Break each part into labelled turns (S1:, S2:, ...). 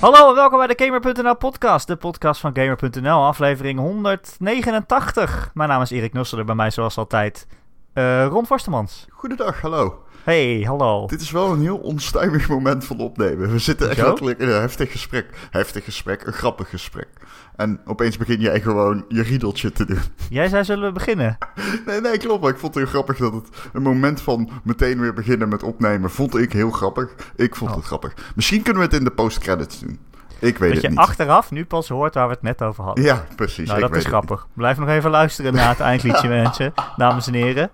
S1: Hallo en welkom bij de Gamer.nl podcast, de podcast van Gamer.nl, aflevering 189. Mijn naam is Erik Nusselder, bij mij zoals altijd eh, Ron Forstemans.
S2: Goedendag, hallo.
S1: Hey, hallo.
S2: Dit is wel een heel onstuimig moment van opnemen. We zitten echt
S1: Zo?
S2: letterlijk in een heftig gesprek. Heftig gesprek, een grappig gesprek. En opeens begin jij gewoon je riedeltje te doen.
S1: Jij zei zullen we beginnen?
S2: Nee, nee, klopt. Maar ik vond het heel grappig dat het een moment van meteen weer beginnen met opnemen vond ik heel grappig. Ik vond
S1: Oh.
S2: het grappig. Misschien kunnen we het in de postcredits doen. Ik weet
S1: dat je
S2: het niet.
S1: achteraf nu pas hoort waar we het net over hadden.
S2: Ja, precies.
S1: nou,
S2: ik
S1: dat
S2: weet
S1: is
S2: het
S1: grappig. Blijf nog even luisteren na het eindliedje, mensen, dames en heren.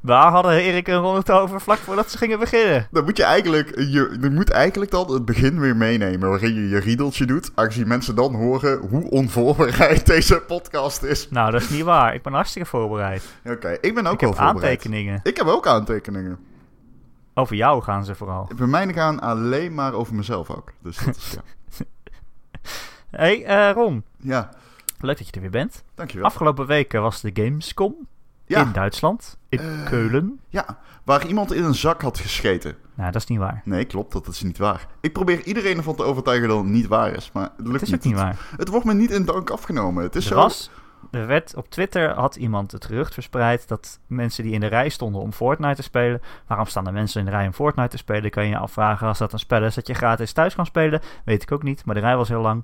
S1: Waar hadden Erik en Ron het over vlak voordat ze gingen beginnen?
S2: niet. Dan moet je eigenlijk, je, je moet eigenlijk dan het begin weer meenemen waarin je je riedeltje doet. Aangezien mensen dan horen hoe onvoorbereid deze podcast is.
S1: Nou, dat is niet waar. Ik ben hartstikke voorbereid.
S2: Oké, ik ben ook
S1: ik
S2: wel
S1: heb
S2: voorbereid.
S1: aantekeningen.
S2: Ik heb ook aantekeningen.
S1: Over jou gaan ze vooral.
S2: Bij mij gaan alleen maar over mezelf ook. Dus dat is, ja.
S1: Hey, eh, Ron.
S2: ja,
S1: Leuk dat je er weer bent.
S2: dankjewel.
S1: Afgelopen weken was de Gamescom in
S2: Ja,
S1: Duitsland, in
S2: Eh.
S1: Keulen.
S2: ja, waar iemand in een zak had gescheten.
S1: Nou, dat is niet waar.
S2: Nee, klopt, dat is niet waar. Ik probeer iedereen ervan te overtuigen dat het niet waar is, maar het lukt
S1: Het is ook niet waar.
S2: Het wordt me niet in dank afgenomen. Het is
S1: Er
S2: zo...
S1: was, er werd, op Twitter had iemand het gerucht verspreid dat mensen die in de rij stonden om Fortnite te spelen... Waarom staan er mensen in de rij om Fortnite te spelen? Kan je je afvragen als dat een spel is dat je gratis thuis kan spelen? Weet ik ook niet, maar de rij was heel lang.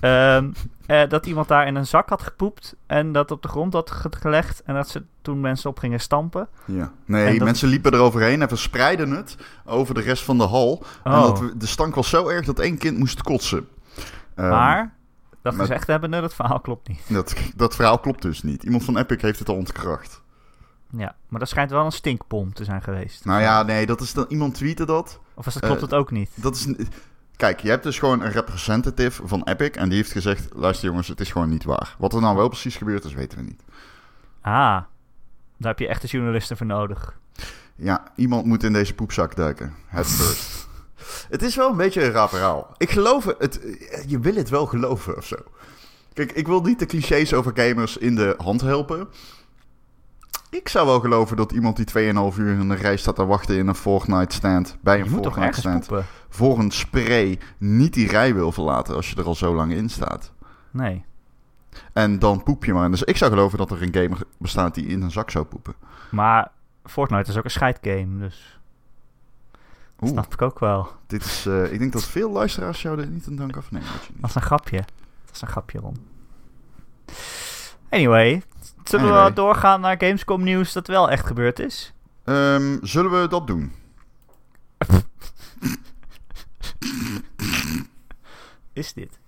S1: Ehm, eh, dat iemand daar in een zak had gepoept en dat op de grond had ge- gelegd... en dat ze toen mensen op gingen stampen.
S2: Ja.
S1: En
S2: Nee,
S1: dat-
S2: mensen liepen eroverheen en verspreidden het over de rest van de hal. En
S1: Oh,
S2: dat we- de stank was zo erg dat één kind moest kotsen. Ehm,
S1: maar... Dat
S2: maar-
S1: gezegd hebben, nee, dat verhaal klopt niet.
S2: Dat, dat verhaal klopt dus niet. Iemand van Epic heeft het al ontkracht.
S1: Ja, maar dat schijnt wel een stinkbom te zijn geweest.
S2: Nou ja, nee, dat is dan iemand tweette dat.
S1: Of als dat klopt
S2: Eh,
S1: het ook niet.
S2: Dat is. n- Kijk, je hebt dus gewoon een representative van Epic en die heeft gezegd: luister jongens, het is gewoon niet waar. Wat er nou wel precies gebeurd is, weten we niet.
S1: Ah, daar heb je echte journalisten voor nodig.
S2: Ja, iemand moet in deze poepzak duiken. Het first. het is wel een beetje een raar verhaal. Ik geloof het. Je wil het wel geloven of zo. Kijk, ik wil niet de clichés over gamers in de hand helpen. Ik zou wel geloven dat iemand die 2,5 uur in de rij staat te wachten in een Fortnite stand. Bij een
S1: je moet toch
S2: Fortnite
S1: ergens
S2: stand.
S1: poepen?
S2: Voor een spray niet die rij wil verlaten als je er al zo lang in staat.
S1: Nee.
S2: En dan poep je maar. Dus ik zou geloven dat er een gamer bestaat die in een zak zou poepen.
S1: Maar Fortnite is ook een scheidgame, dus dat
S2: Oeh,
S1: snap ik ook wel.
S2: dit is, eh, ik denk dat veel luisteraars jou er niet een dank afnemen. dat je niet-
S1: Dat is een grapje. Dat is een grapje, Ron. Anyway, zullen we
S2: Anyway.
S1: doorgaan naar Gamescom nieuws dat wel echt gebeurd is?
S2: Ehm, zullen we dat doen?
S1: Is dit?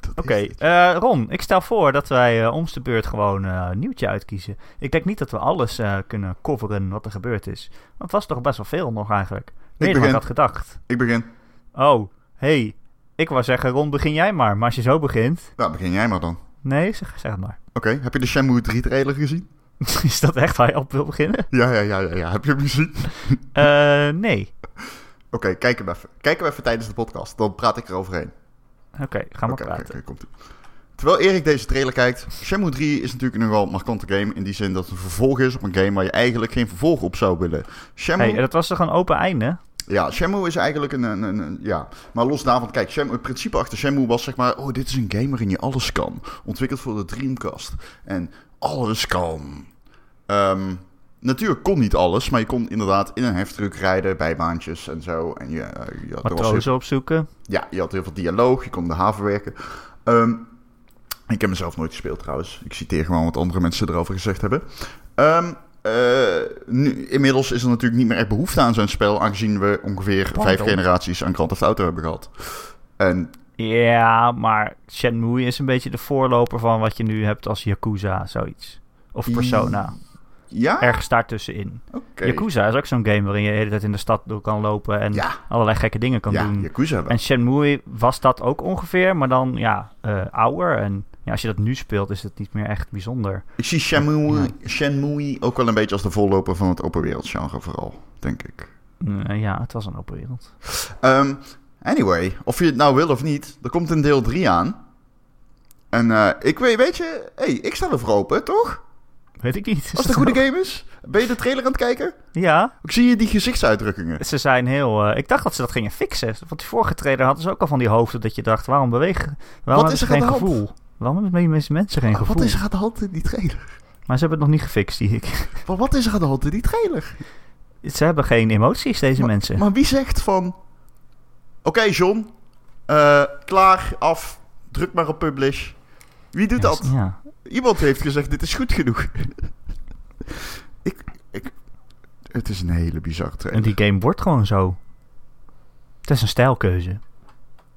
S2: Dat is
S1: Oké,
S2: het.
S1: eh, Ron, ik stel voor dat wij eh, ons de beurt gewoon eh, een nieuwtje uitkiezen. Ik denk niet dat we alles eh, kunnen coveren wat er gebeurd is. Want het was toch best wel veel nog eigenlijk. Meer dan ik
S2: begin.
S1: had gedacht.
S2: Ik begin.
S1: Oh, hey, ik wou zeggen, Ron, begin jij maar. Maar als je zo begint...
S2: Nou, begin jij maar dan. Oké,
S1: Nee, zeg, zeg het maar.
S2: heb je de Shenmue 3 trailer gezien?
S1: Is dat echt waar je op wil beginnen?
S2: Ja, ja, ja, ja. ja. Heb je hem gezien? Oké,
S1: Eh, nee.
S2: kijk hem even. Kijk hem even tijdens de podcast. Dan praat ik eroverheen.
S1: Oké, ga maar
S2: Oké, oké,
S1: praten.
S2: oké, komt-ie. Terwijl Erik deze trailer kijkt, Shenmue 3 is natuurlijk een nogal markante game. In die zin dat het een vervolg is op een game waar je eigenlijk geen vervolg op zou willen. Shenmue,
S1: Hey, eh, dat was toch een open einde?
S2: Ja, Shenmue is eigenlijk een, een, een- een- Ja, maar los daarvan, kijk, Shenmue, het principe achter Shenmue was zeg maar... Oh, dit is een game waarin je alles kan. Ontwikkeld voor de Dreamcast. En alles kan. Ehm, natuurlijk kon niet alles, maar je kon inderdaad in een heftruck rijden... bij baantjes en zo. En je, eh, je had, er was heel
S1: Matrozen opzoeken.
S2: ja, je had heel veel dialoog, je kon de haven werken. Ehm, ik heb mezelf nooit gespeeld trouwens. Ik citeer gewoon wat andere mensen erover gezegd hebben. Ehm, eh, nu, inmiddels is er natuurlijk niet meer echt behoefte aan zo'n spel, aangezien we ongeveer
S1: Pardon.
S2: vijf generaties aan Grand Theft Auto hebben gehad. En
S1: Ja, maar Shenmue is een beetje de voorloper van wat je nu hebt als Yakuza, zoiets. Of Persona.
S2: ja,
S1: Ergens daartussenin.
S2: oké.
S1: Yakuza is ook zo'n game waarin je de hele tijd in de stad door kan lopen en
S2: Ja,
S1: allerlei gekke dingen kan
S2: ja
S1: doen.
S2: Yakuza wel.
S1: En Shenmue was dat ook ongeveer, maar dan ja, eh, ouder. En ja, als je dat nu speelt, is het niet meer echt bijzonder.
S2: Ik zie Shenmue,
S1: Ja.
S2: Shenmue ook wel een beetje als de voorloper van het open wereld genre vooral, denk ik.
S1: Eh, ja, het was een open wereld.
S2: Ehm, anyway, of je het nou wil of niet, er komt een deel 3 aan. En eh, ik weet, weet je, hey, ik sta er voor open, toch?
S1: Weet ik niet. Is
S2: Als
S1: dat
S2: het een
S1: zo?
S2: goede game is. Ben je de trailer aan het kijken?
S1: Ja,
S2: Ik zie je die gezichtsuitdrukkingen.
S1: ze zijn heel... eh, ik dacht dat ze dat gingen fixen. Want die vorige trailer hadden ze ook al van die hoofden dat je dacht, waarom bewegen... Waarom
S2: Wat is
S1: hebben ze
S2: er aan
S1: geen
S2: de hand?
S1: gevoel? Waarom hebben deze mensen geen gevoel?
S2: Wat is er aan de hand in die trailer?
S1: Maar ze hebben het nog niet gefixt, zie ik.
S2: Maar wat is er aan de hand in die trailer?
S1: Ze hebben geen emoties, deze mensen.
S2: Maar wie zegt van... Oké, John. eh, klaar, af. Druk maar op publish. Wie doet
S1: Ja,
S2: dat?
S1: Ja.
S2: Iemand heeft gezegd, dit is goed genoeg. ik, ik, het is een hele bizarre trailer.
S1: En die game wordt gewoon zo. Het is een stijlkeuze.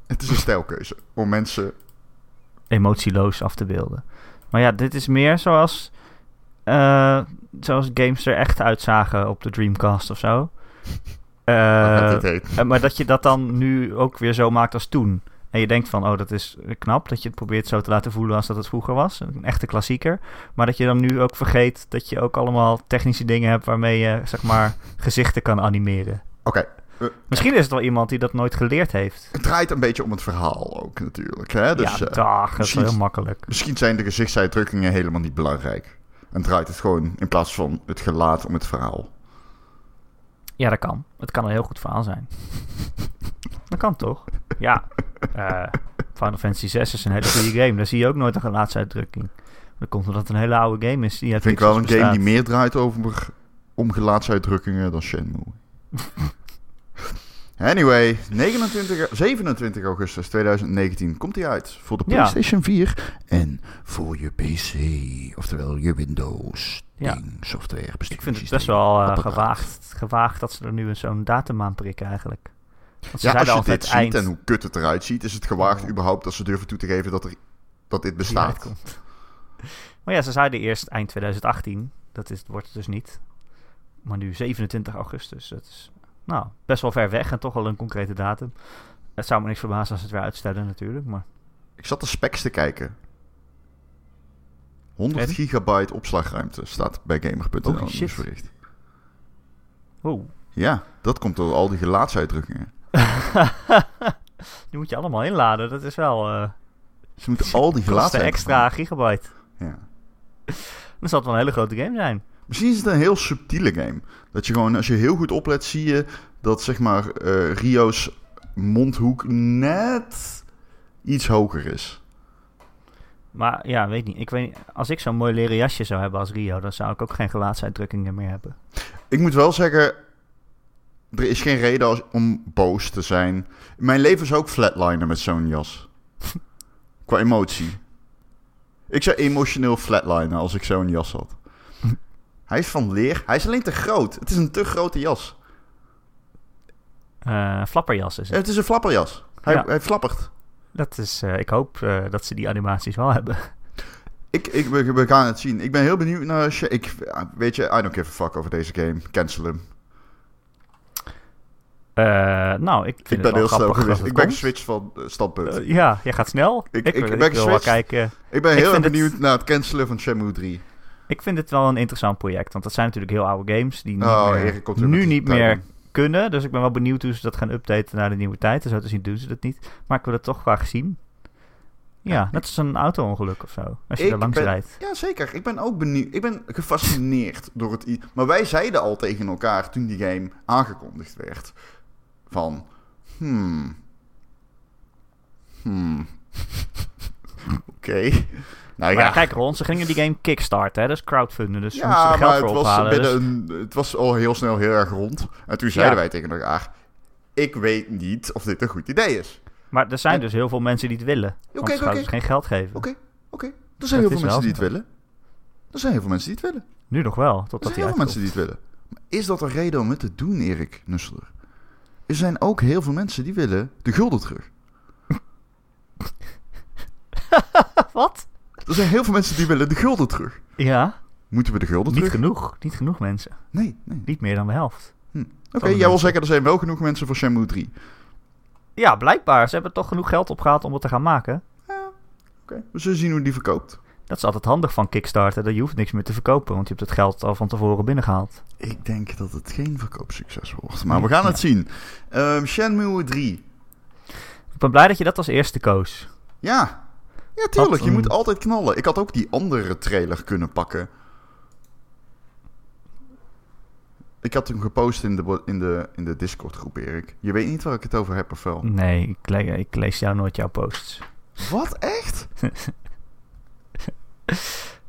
S2: Het is een stijlkeuze om mensen...
S1: Emotieloos af te beelden. Maar ja, dit is meer zoals. eh, zoals games er echt uitzagen op de Dreamcast of zo.
S2: wat
S1: Eh,
S2: het heet.
S1: eh, maar dat je dat dan nu ook weer zo maakt als toen. En je denkt van, oh, dat is eh, knap. Dat je het probeert zo te laten voelen als dat het vroeger was. Een echte klassieker. Maar dat je dan nu ook vergeet dat je ook allemaal technische dingen hebt waarmee je, zeg maar, gezichten kan animeren.
S2: Oké,
S1: Misschien is het wel iemand die dat nooit geleerd heeft.
S2: het draait een beetje om het verhaal ook natuurlijk. Hè? Dus,
S1: ja,
S2: eh,
S1: dag, dat is wel
S2: precies. Dus-
S1: heel makkelijk.
S2: Misschien zijn de gezichtsuitdrukkingen helemaal niet belangrijk. En draait het gewoon in plaats van het gelaat om het verhaal.
S1: Ja, dat kan. Het kan een heel goed verhaal zijn. dat kan toch? Ja. Eh, Final Fantasy 6 is een hele goede game. Daar zie je ook nooit een gelaatsuitdrukking. Dat komt omdat het een hele oude game is. Die uit
S2: Ik vind ik wel een
S1: pixels
S2: game die
S1: bestaat.
S2: meer draait over om gelaatsuitdrukkingen dan Shenmue. Anyway, 29, 27 augustus 2019 komt hij uit voor de
S1: Ja.
S2: PlayStation 4 en voor je PC, oftewel je Windows
S1: Ja.
S2: ding, software.
S1: Ik vind het
S2: besturingssysteem,
S1: best wel eh,
S2: apparaat.
S1: gewaagd, gewaagd dat ze er nu een zo'n datum aan prikken eigenlijk. Want ze
S2: Ja, als
S1: zeiden
S2: je
S1: altijd
S2: dit
S1: eind
S2: ziet en hoe kut het eruit ziet, is het gewaagd
S1: Oh.
S2: überhaupt dat ze durven toe te geven dat, er, dat dit
S1: die
S2: bestaat.
S1: uitkomt. Maar ja, ze zeiden eerst eind 2018. Dat is, wordt het dus niet. Maar nu 27 augustus. Dat is nou, best wel ver weg en toch al een concrete datum. Het zou me niks verbazen als ze het weer uitstellen natuurlijk. Maar
S2: Ik zat de specs te kijken. 100
S1: En?
S2: gigabyte opslagruimte staat bij gamer.nl
S1: Holy
S2: in het
S1: shit.
S2: nieuwsbericht.
S1: oh.
S2: Ja, dat komt door al die gelaatsuitdrukkingen.
S1: die moet je allemaal inladen. Dat is wel eh
S2: Ze moeten al die
S1: kost een
S2: gelaatsuitdrukkingen...
S1: extra gigabyte.
S2: Ja.
S1: Dan zal het wel een hele grote game zijn.
S2: Misschien is het een heel subtiele game. Dat je gewoon, als je heel goed oplet, zie je dat zeg maar eh, Rio's mondhoek net iets hoger is.
S1: Maar ja, weet niet. Ik weet, niet. als ik zo'n mooi leren jasje zou hebben als Rio, dan zou ik ook geen gelaatsuitdrukkingen meer hebben.
S2: Ik moet wel zeggen, er is geen reden als- om boos te zijn. Mijn leven is ook flatliner met zo'n jas. Qua emotie. Ik zou emotioneel flatlinen als ik zo'n jas had. Hij is van leer. Hij is alleen te groot. Het is een te grote jas.
S1: Eh flapperjas is
S2: Ja,
S1: het.
S2: Het is een flapperjas. Hij,
S1: Ja.
S2: hij flappert.
S1: Dat is, eh, ik hoop eh, dat ze die animaties wel hebben.
S2: Ik, ik, we, we gaan het zien. Ik ben heel benieuwd naar... Sh- Ik, weet je, I don't give a fuck over deze game. Cancel hem.
S1: Eh, nou, ik vind
S2: Ik
S1: het
S2: ben
S1: wel
S2: heel snel
S1: grappig dat
S2: geweest.
S1: het
S2: Ik ben
S1: komt.
S2: geswitcht van eh, standpunt.
S1: Eh, ja, jij gaat snel.
S2: Ik-
S1: Ik,
S2: ik
S1: wil,
S2: ben
S1: ik wil wel
S2: geswitcht.
S1: kijken.
S2: ik ben
S1: ik
S2: heel erg
S1: vind het-
S2: benieuwd naar het cancelen van Shenmue 3.
S1: Ik vind het wel een interessant project, want dat zijn natuurlijk heel oude games die niet
S2: Oh,
S1: meer-
S2: Erik komt weer met
S1: nu
S2: die
S1: niet meer
S2: timing.
S1: kunnen. Dus ik ben wel benieuwd hoe ze dat gaan updaten naar de nieuwe tijd. En zo te zien doen ze dat niet. Maar ik wil het toch graag zien. Ja, net als een auto-ongeluk of zo. Als je
S2: Ik
S1: er langs
S2: ben-
S1: rijdt.
S2: Ja, zeker. Ik ben ook benieuwd. Ik ben gefascineerd door het... i- Maar wij zeiden al tegen elkaar toen die game aangekondigd werd. Van... Hmm... Hmm... Oké. Nou
S1: Maar ja,
S2: ja,
S1: kijk Ron, ze gingen die game kickstarten, hè? dus crowdfunden. Dus ze moesten
S2: ja
S1: er
S2: maar
S1: geld
S2: het
S1: voor
S2: was,
S1: ophalen. dus-
S2: binnen een, het was al heel snel heel erg rond. En toen zeiden
S1: Ja.
S2: wij tegen elkaar... Ik weet niet of dit een goed idee is.
S1: Maar er zijn
S2: En-
S1: dus heel veel mensen die het willen. Want
S2: Oké,
S1: ze gaan
S2: oké.
S1: dus geen geld geven.
S2: Oké. Oké, er zijn
S1: Dat
S2: heel veel
S1: is wel
S2: mensen die het
S1: zo.
S2: willen. Er zijn heel veel mensen die het willen.
S1: Nu nog wel,
S2: Er
S1: totdat
S2: zijn
S1: die
S2: heel veel
S1: uitkomt.
S2: mensen die het willen. Maar is dat een reden om het te doen, Erik Nusselder? Er zijn ook heel veel mensen die willen de gulden terug.
S1: Wat?
S2: Er zijn heel veel mensen die willen de gulden terug.
S1: Ja,
S2: Moeten we de gulden
S1: niet
S2: terug?
S1: genoeg. Niet genoeg mensen.
S2: Nee, nee.
S1: Niet meer dan de helft.
S2: Oké,
S1: Van de
S2: jij wil
S1: mensen.
S2: zeggen er zijn wel genoeg mensen voor Shenmue 3.
S1: Ja, blijkbaar. Ze hebben toch genoeg geld opgehaald om het te gaan maken.
S2: Oké, we zullen zien hoe die verkoopt.
S1: Dat is altijd handig van Kickstarter. Dat je hoeft niks meer te verkopen, want je hebt het geld al van tevoren binnengehaald.
S2: Ik denk dat het geen verkoopsucces wordt, maar we gaan het zien. Ehm Shenmue 3.
S1: Ik ben blij dat je dat als eerste koos.
S2: Ja. Ja, tuurlijk. Je
S1: een-
S2: moet altijd knallen. Ik had ook die andere trailer kunnen pakken. Ik had hem gepost in de, bo- in de, in de Discord-groep, Erik. Je weet niet waar ik het over heb of wel?
S1: Nee, ik, le- ik lees jou nooit jouw posts.
S2: Wat? Echt?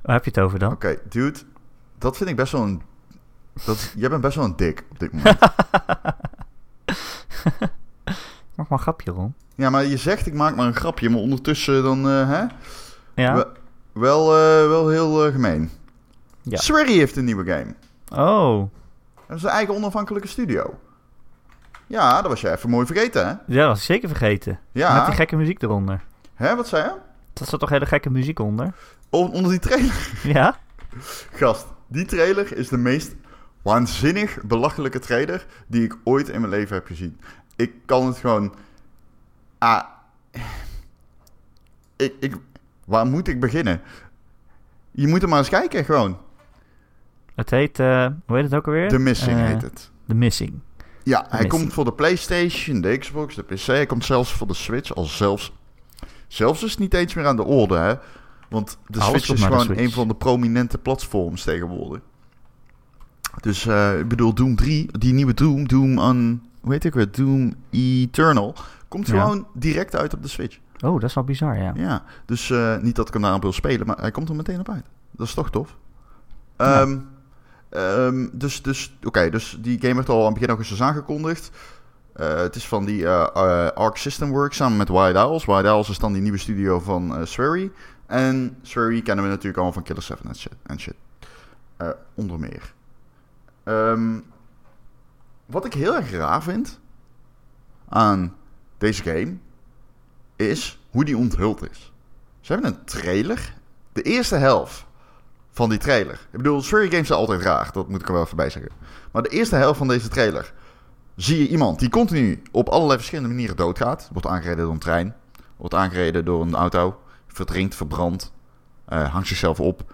S1: Waar heb je het over dan?
S2: Oké, dude. Dat vind ik best wel een... Dat, jij bent best wel een dik op dit moment.
S1: Mag maar een grapje, Ron.
S2: ja, maar je zegt ik maak maar een grapje, maar ondertussen dan... eh, hè?
S1: Ja?
S2: We- wel, eh, wel heel eh, gemeen.
S1: Ja.
S2: Swery heeft een nieuwe game.
S1: Oh,
S2: Dat is een eigen onafhankelijke studio. Ja, dat was jij even mooi vergeten, hè?
S1: ja, dat was ik zeker vergeten. Met
S2: Ja.
S1: die gekke muziek eronder.
S2: Hè, wat zei je?
S1: Dat zat toch hele gekke muziek onder?
S2: O- onder die trailer.
S1: Ja?
S2: Gast, die trailer is de meest waanzinnig belachelijke trailer die ik ooit in mijn leven heb gezien. Ik kan het gewoon... Ah... Ik, ik, waar moet ik beginnen? Je moet er maar eens kijken, gewoon.
S1: Het heet, eh, hoe heet het ook alweer?
S2: The Missing
S1: Eh,
S2: heet het.
S1: The Missing.
S2: Ja, hij
S1: Missing.
S2: komt voor de PlayStation, de Xbox, de PC. Hij komt zelfs voor de Switch. Al zelfs, zelfs is het niet eens meer aan de orde, hè? Want de
S1: Alles
S2: Switch
S1: komt
S2: is
S1: naar de
S2: gewoon
S1: Switch.
S2: een van de prominente platforms tegenwoordig. Dus eh, ik bedoel, Doom 3, die nieuwe Doom, Doom on, hoe heet ik weer? Doom Eternal, komt
S1: Ja.
S2: gewoon direct uit op de Switch.
S1: Oh, dat is wel bizar, ja.
S2: Ja, dus eh, niet dat ik hem daarop wil spelen, maar hij komt er meteen op uit. Dat is toch tof?
S1: Ja.
S2: Ehm, ehm, dus, dus oké, dus die game werd al aan het begin augustus aangekondigd. Eh, het is van die eh, eh, Arc System Works samen met Wild Owls. Wild Owls is dan die nieuwe studio van eh Swery. En Swery kennen we natuurlijk allemaal van Killer 7 en shit. En shit. Eh, onder meer. Ehm, wat ik heel erg raar vind aan deze game is hoe die onthuld is. Ze hebben een trailer. De eerste helft van die trailer. Ik bedoel, Swery Games zijn altijd raar. Dat moet ik er wel even bij zeggen. Maar de eerste helft van deze trailer zie je iemand die continu op allerlei verschillende manieren doodgaat. Wordt aangereden door een trein. Wordt aangereden door een auto. Verdrinkt, verbrandt. eh, hangt zichzelf op.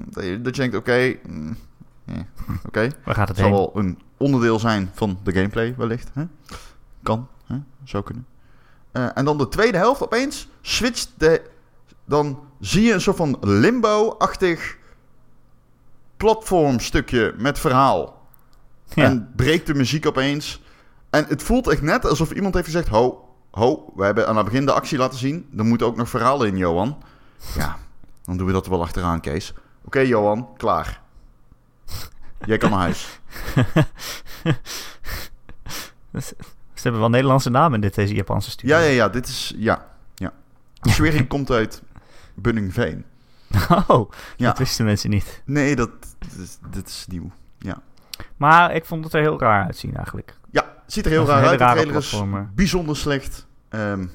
S2: Dat je dat je denkt, oké... mm, eh, oké.
S1: Waar gaat het
S2: Het zal
S1: heen?
S2: wel een onderdeel zijn van de gameplay, wellicht. Hè? Kan, hè? zou kunnen. Eh, en dan de tweede helft opeens switcht de. Dan zie je een soort van limbo-achtig platformstukje met verhaal.
S1: Ja.
S2: En breekt de muziek opeens. En het voelt echt net alsof iemand heeft gezegd: Ho, ho, we hebben aan het begin de actie laten zien. Er moet ook nog verhaal in, Johan. Ja, dan doen we dat er wel achteraan, Kees. Oké, Johan, klaar. Jij kan naar huis.
S1: Ze hebben wel Nederlandse namen in dit, deze Japanse studio.
S2: Ja, ja, ja, dit is. Ja, ja. Schwerin komt uit Bunningveen.
S1: Oh,
S2: Ja.
S1: dat wisten mensen niet.
S2: Nee, dat, dit is, dit is nieuw.
S1: Maar ik vond het er heel raar uitzien eigenlijk.
S2: Ja, ziet er heel
S1: Dat is een hele rare
S2: raar uit. De trailer is
S1: platformer.
S2: bijzonder slecht. Ehm,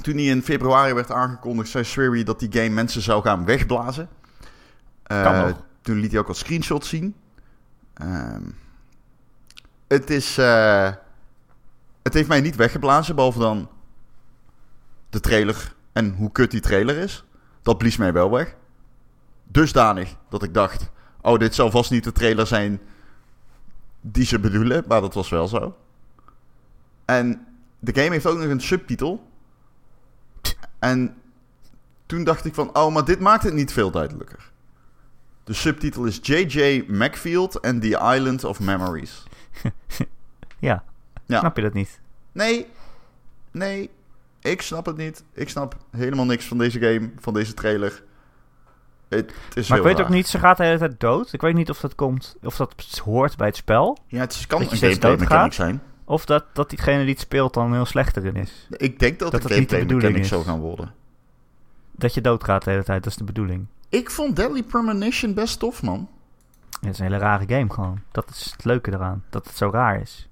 S2: toen die in februari werd aangekondigd, zei Swery dat die game mensen zou gaan wegblazen. Eh,
S1: Kan nog.
S2: toen liet hij ook wat screenshots zien. Ehm, het is. eh, het heeft mij niet weggeblazen, behalve dan de trailer en hoe kut die trailer is. Dat blies mij wel weg. Dusdanig dat ik dacht: oh, dit zal vast niet de trailer zijn die ze bedoelen, maar dat was wel zo. En de game heeft ook nog een subtitel. En toen dacht ik van, oh, maar dit maakt het niet veel duidelijker. De subtitel is J.J. Macfield and the Island of Memories.
S1: Ja.
S2: Ja.
S1: Snap je dat niet?
S2: Nee, nee, ik snap het niet. Ik snap helemaal niks van deze game, van deze trailer. Het is
S1: Maar ik
S2: heel
S1: weet ook
S2: raar.
S1: niet, ze gaat de hele tijd dood. Ik weet niet of dat komt, of dat hoort bij het spel.
S2: Ja, het kan
S1: dat je
S2: een
S1: steeds
S2: gameplay
S1: doodgaat.
S2: mechanic zijn.
S1: Of dat, dat diegene die het speelt dan heel slecht erin is.
S2: Ik denk dat,
S1: Dat
S2: de
S1: dat niet de
S2: gameplay mechanic
S1: bedoeling
S2: zo
S1: is.
S2: gaan worden.
S1: Dat je doodgaat de hele tijd, dat is de bedoeling.
S2: Ik vond Deadly Premonition best tof, man.
S1: Het is een hele rare game gewoon. Dat is het leuke eraan, dat het zo raar is.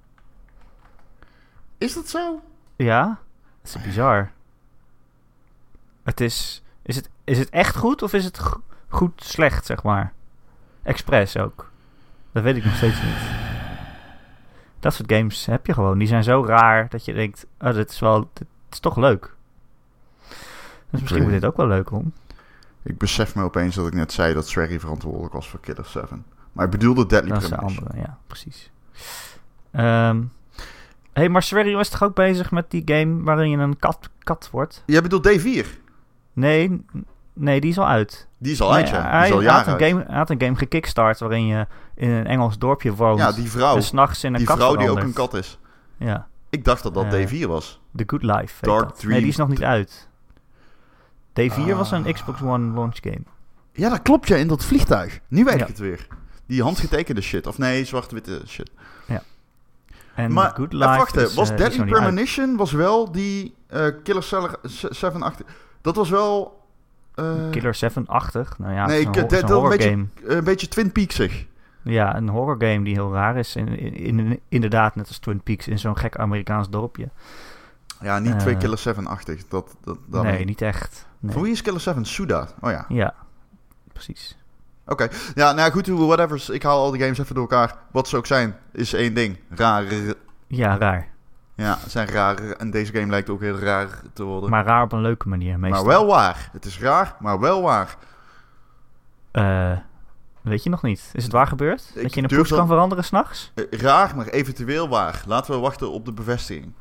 S2: Is dat zo?
S1: Ja? Dat is bizar. Het is... Is het, is het echt goed of is het go- goed slecht, zeg maar? Express ook. Dat weet ik nog steeds niet. Dat soort games heb je gewoon. Die zijn zo raar dat je denkt... Oh, dit is wel... Dit is toch leuk. Dus misschien
S2: weet
S1: wordt dit ook wel leuk om.
S2: Ik besef me opeens dat ik net zei dat Swery verantwoordelijk was voor Killer 7. Maar ik bedoelde Deadly
S1: Dat is de
S2: Premonition.
S1: andere, ja, precies. Ehm hey, maar Swery was toch ook bezig met die game waarin je een kat, kat wordt?
S2: Jij bedoelt D4?
S1: Nee, n- Nee, die is al uit.
S2: Die is al
S1: Nee,
S2: uit, ja. Die
S1: Nou hij,
S2: is al
S1: hij
S2: jaren
S1: had een
S2: uit.
S1: game, hij had een game gekickstart waarin je in een Engels dorpje woont.
S2: Ja, die vrouw.
S1: En s'nachts in een
S2: Die
S1: dus kat
S2: vrouw die ook
S1: verandert.
S2: een kat is.
S1: Ja,
S2: Ik dacht dat dat
S1: Eh,
S2: D4 was.
S1: The Good Life. heet
S2: Dark
S1: dat. Nee,
S2: Dream.
S1: die is nog niet uit. D4 was
S2: Ah.
S1: een Xbox One launch game.
S2: Ja, dat klopt ja, in dat vliegtuig. Nu weet
S1: Ja.
S2: ik het weer. Die handgetekende shit. Of nee, zwart-witte shit.
S1: En
S2: maar
S1: The Good
S2: eh,
S1: Life
S2: wacht, hè,
S1: is,
S2: was
S1: eh, is
S2: Deadly
S1: nog niet uit.
S2: Premonition was wel die eh, Killer Seller 7 achter. Dat was wel eh,
S1: Killer 7 80. Nou ja,
S2: Nee,
S1: het is
S2: ik-
S1: een, ho- het is
S2: dat-
S1: een
S2: dat
S1: horror
S2: een beetje-
S1: game.
S2: een beetje Twin Peaksig.
S1: Ja, een horror game die heel raar is. In, in, in- inderdaad, net als Twin Peaks in zo'n gek Amerikaans dorpje.
S2: Ja, niet
S1: Eh.
S2: twee Killer 7-achtig. Dat, dat, dat
S1: nee, niet echt. Nee.
S2: Van wie is Killer 7? Suda. Oh ja.
S1: Ja, precies.
S2: Oké. Ja, nou ja, goed, whatever. Ik haal al die games even door elkaar. Wat ze ook zijn, is één ding. Raar.
S1: Ja, raar.
S2: Ja, ze zijn raar. En deze game lijkt ook heel raar te worden.
S1: Maar raar op een leuke manier meestal.
S2: Maar wel waar. Het is raar, maar wel waar.
S1: Eh, weet je nog niet. Is het waar gebeurd?
S2: Ik
S1: dat je in een
S2: durf
S1: poes
S2: dat-
S1: kan veranderen s'nachts?
S2: Eh, Raar, maar eventueel waar. Laten we wachten op de bevestiging.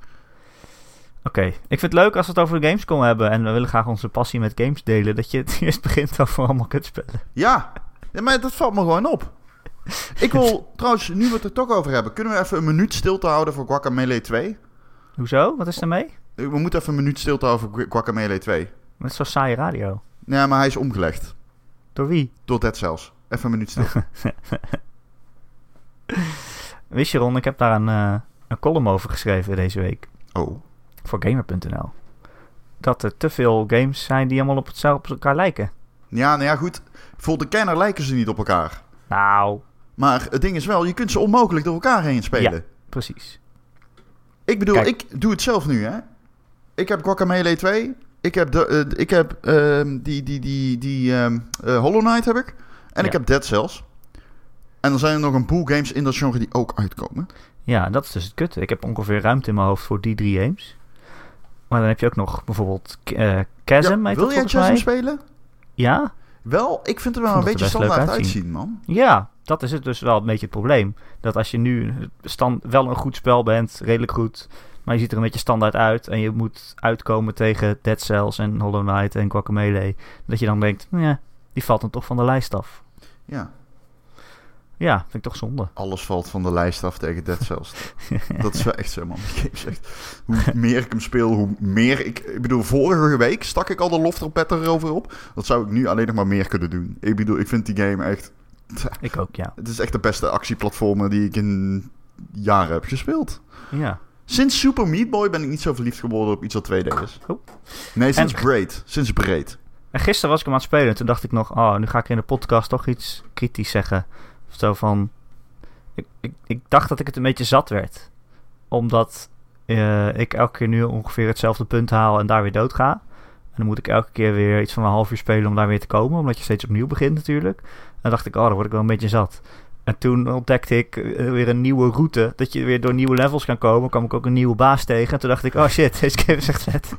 S1: Oké. Ik vind het leuk als we het over de Gamescom hebben. En we willen graag onze passie met games delen. Dat je het eerst begint over allemaal kutspellen.
S2: Ja. ja, maar dat valt me gewoon op. Ik wil trouwens, nu we het er toch over hebben, kunnen we even een minuut stilte houden voor Guacamele 2?
S1: Hoezo? Wat is daarmee?
S2: Eh, We moeten even een minuut stilte houden voor Gu- Guacamele 2.
S1: Met zo'n saaie radio.
S2: Nee, maar hij is omgelegd.
S1: Door wie?
S2: Door Dead Cells. Even een minuut stilte.
S1: Wist je Ron, ik heb daar een, eh, een column over geschreven deze week.
S2: Oh.
S1: Voor gamer.nl. Dat er te veel games zijn die allemaal op hetzelfde op elkaar lijken.
S2: Ja, nou ja, goed. Voor de kenner lijken ze niet op elkaar.
S1: Nou,
S2: Maar het ding is wel, je kunt ze onmogelijk door elkaar heen spelen.
S1: precies.
S2: Ik bedoel,
S1: Kijk.
S2: ik doe het zelf nu, hè. Ik heb Guacamele 2. Ik heb, de, eh, ik heb ehm, die, die, die, die ehm, eh, Hollow Knight heb ik. En
S1: Ja.
S2: ik heb Dead Cells. En dan zijn er nog een boel games in dat genre die ook uitkomen.
S1: Ja, dat is dus het kutte. Ik heb ongeveer ruimte in mijn hoofd voor die drie games. Maar dan heb je ook nog bijvoorbeeld K- eh Chasm,
S2: Ja,
S1: heet
S2: wil
S1: dat
S2: jij
S1: volgens
S2: Chasm
S1: mij.
S2: spelen?
S1: Ja?
S2: Wel, ik vind het wel
S1: Vond
S2: een
S1: het
S2: beetje
S1: er best leuk
S2: standaard
S1: uitzien.
S2: uitzien, man.
S1: Ja, dat is het dus wel een beetje het probleem. Dat als je nu stand, wel een goed spel bent, redelijk goed, maar je ziet er een beetje standaard uit en je moet uitkomen tegen Dead Cells en Hollow Knight en Guacamelee, dat je dan denkt, nee, die valt dan toch van de lijst af.
S2: Ja,
S1: Ja, vind ik toch zonde.
S2: alles valt van de lijst af tegen Dead Cells. dat is wel echt zo, man. Die game is echt- hoe meer ik hem speel, hoe meer ik... Ik bedoel, vorige week stak ik al de loftrompet erover op. Dat zou ik nu alleen nog maar meer kunnen doen. Ik bedoel, ik vind die game echt...
S1: Ik ook, ja.
S2: Het is echt de beste actieplatformer die ik in jaren heb gespeeld.
S1: Ja,
S2: Sinds Super Meat Boy ben ik niet zo verliefd geworden op iets dat 2D is.
S1: Oh.
S2: Nee, sinds
S1: En-
S2: Braid. Sinds Braid.
S1: En gisteren was ik hem aan het spelen en toen dacht ik nog, oh, nu ga ik in de podcast toch iets kritisch zeggen. Of zo van, ik, ik, ik dacht dat ik het een beetje zat werd. Omdat eh, ik elke keer nu ongeveer hetzelfde punt haal en daar weer dood ga. En dan moet ik elke keer weer iets van een half uur spelen om daar weer te komen. Omdat je steeds opnieuw begint natuurlijk. En dan dacht ik, oh, dan word ik wel een beetje zat. En toen ontdekte ik eh, weer een nieuwe route. Dat je weer door nieuwe levels kan komen. kwam ik ook een nieuwe baas tegen. En toen dacht ik, oh shit, deze game is echt vet.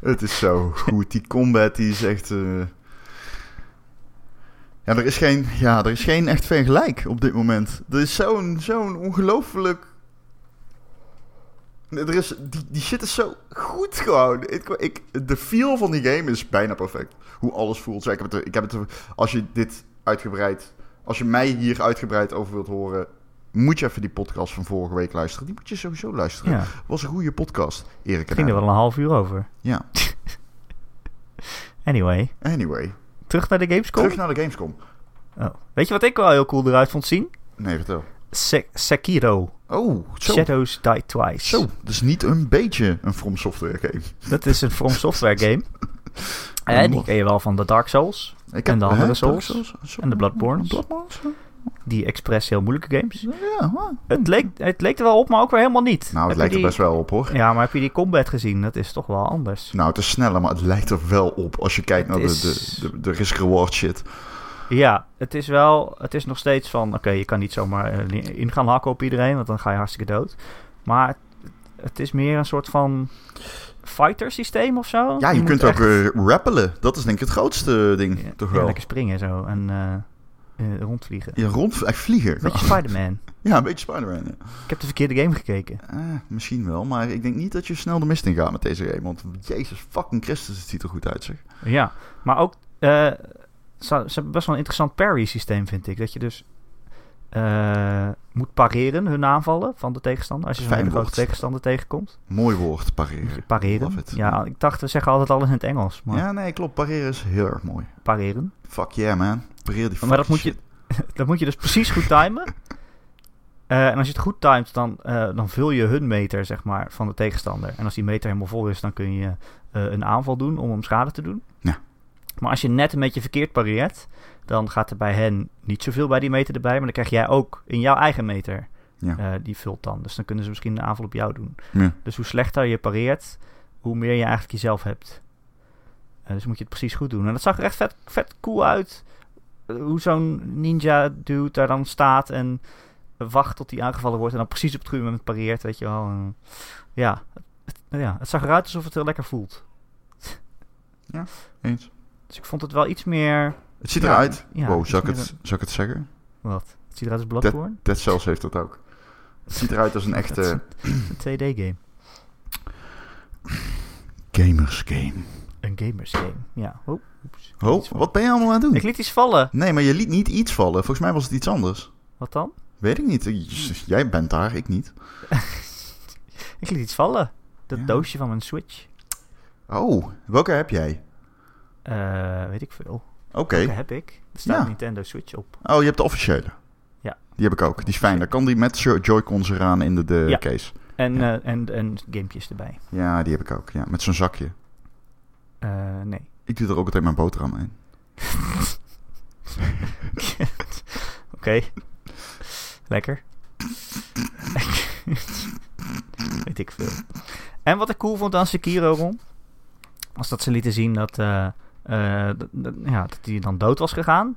S2: Het is zo goed. Die combat die is echt... eh, Ja, er is, geen, ja, er is geen echt vergelijk op dit moment. Er is zo'n zo'n ongelooflijk... Nee, Er is, die, die shit is zo goed gewoon. Ik, ik, de feel van die game is bijna perfect. Hoe alles voelt. Zo, Ik heb het, er- ik heb het, er- als je dit uitgebreid... Als je mij hier uitgebreid over wilt horen... Moet je even die podcast van vorige week luisteren. Die moet je sowieso luisteren.
S1: Ja,
S2: was een goede podcast, Erik en
S1: ging er
S2: Adam.
S1: wel een half uur over.
S2: Ja.
S1: Anyway,
S2: Anyway,
S1: terug naar de Gamescom.
S2: terug naar de Gamescom.
S1: Oh. Weet je wat ik wel heel cool eruit vond zien?
S2: Nee, vertel.
S1: Se- Sekiro.
S2: Oh, zo.
S1: Shadows Die Twice.
S2: Zo, dus niet een beetje een From Software game.
S1: Dat is een From Software game. en die ken je wel van de Dark Souls.
S2: Ik
S1: En de andere Souls.
S2: Zo-
S1: En de Bloodbornes.
S2: Bloodbornes?
S1: Die expres heel moeilijke games.
S2: Ja, maar-
S1: Het leek, het leek er wel op, maar ook weer helemaal niet.
S2: Nou, het lijkt er best wel op, hoor.
S1: Ja, maar heb je die combat gezien? Dat is toch wel anders.
S2: Nou, het is sneller, maar het lijkt er wel op als je kijkt
S1: Het
S2: naar de,
S1: is- Oh,
S2: de, de, de risk-reward shit.
S1: Ja, het is wel... Het is nog steeds van... Oké, je kan niet zomaar eh, in gaan hakken op iedereen, want dan ga je hartstikke dood. Maar het, het is meer een soort van fighter systeem of zo.
S2: Ja, je,
S1: moet
S2: kunt
S1: echt-
S2: ook eh, rappelen. Dat is denk ik het grootste ding,
S1: Ja,
S2: toch
S1: ja,
S2: wel?
S1: lekker springen zo en eh, eh, rondvliegen.
S2: Je rond echt vliegen.
S1: Beetje Spider-Man.
S2: Ja, een beetje Spider-Man. ja.
S1: Ik heb de verkeerde game gekeken.
S2: Eh, misschien wel, maar ik denk niet dat je snel de mist in gaat met deze game. Want jezus fucking Christus, het ziet er goed uit zeg.
S1: Ja, maar ook... eh, ze, ze hebben best wel een interessant parry-systeem, vind ik. Dat je dus eh, moet pareren hun aanvallen van de tegenstander. Als je zo'n
S2: Fijn
S1: hele grote
S2: woord.
S1: tegenstander tegenkomt.
S2: Mooi woord,
S1: Moet je
S2: pareren. Love
S1: pareren.
S2: it.
S1: Ja, ik dacht, we zeggen altijd alles in het Engels. Maar
S2: Ja, nee, klopt. Pareren is heel erg mooi.
S1: pareren.
S2: Fuck yeah, man. Pareer die
S1: Maar dat
S2: fucking
S1: moet je,
S2: shit.
S1: dat moet je dus precies goed timen. Eh, en als je het goed timet, dan, eh, dan vul je hun meter zeg maar, van de tegenstander. En als die meter helemaal vol is, dan kun je eh, een aanval doen om hem schade te doen.
S2: Ja.
S1: Maar als je net een beetje verkeerd pareert, dan gaat er bij hen niet zoveel bij die meter erbij. Maar dan krijg jij ook in jouw eigen meter,
S2: Ja.
S1: eh, die vult dan. Dus dan kunnen ze misschien een aanval op jou doen.
S2: Ja.
S1: Dus hoe slechter je pareert, hoe meer je eigenlijk jezelf hebt. Eh, dus moet je het precies goed doen. En dat zag er echt vet, vet cool uit. eh, hoe zo'n ninja dude daar dan staat en wacht tot hij aangevallen wordt. En dan precies op het goede moment pareert, weet je wel. En, ja, het, ja, het zag eruit alsof het heel lekker voelt.
S2: Eens.
S1: Dus ik vond het wel iets meer...
S2: Het ziet
S1: Ja,
S2: eruit.
S1: ja,
S2: wow,
S1: iets
S2: zou ik,
S1: meer
S2: het, zou ik het zeggen?
S1: Wat? Het ziet eruit als Bloodborne?
S2: Dead Cells heeft dat ook. Het ziet eruit als een
S1: Dat is
S2: echte
S1: een 2D-game.
S2: gamers game.
S1: Een gamers game, ja. Oh, oeps.
S2: Ho,
S1: Iets van-
S2: wat ben je allemaal aan het doen?
S1: Ik liet iets vallen.
S2: Nee, maar je liet niet iets vallen. Volgens mij was het iets anders.
S1: Wat dan?
S2: Weet ik niet.
S1: Hmm.
S2: J- Jij bent daar, ik niet.
S1: Ik liet iets vallen. Dat
S2: Ja.
S1: doosje van mijn Switch.
S2: Oh, welke heb jij?
S1: Eh, weet ik veel.
S2: Oké.
S1: Welke heb ik? Er staat
S2: Ja.
S1: een Nintendo Switch op.
S2: Oh, je hebt de officiële.
S1: Ja.
S2: Die heb ik ook. Die is fijn. Dan kan die met jo- Joy-Cons eraan in de, de
S1: Ja.
S2: case.
S1: En,
S2: Ja.
S1: eh, en, en gamepjes erbij.
S2: Ja, die heb ik ook. Ja, met zo'n zakje.
S1: Eh, nee.
S2: Ik doe er ook altijd mijn boterham in.
S1: Oké. Lekker. Weet ik veel. En wat ik cool vond aan Sekiro, Ron... was dat ze lieten zien dat, eh, eh, dat, dat- ja, dat hij dan dood was gegaan.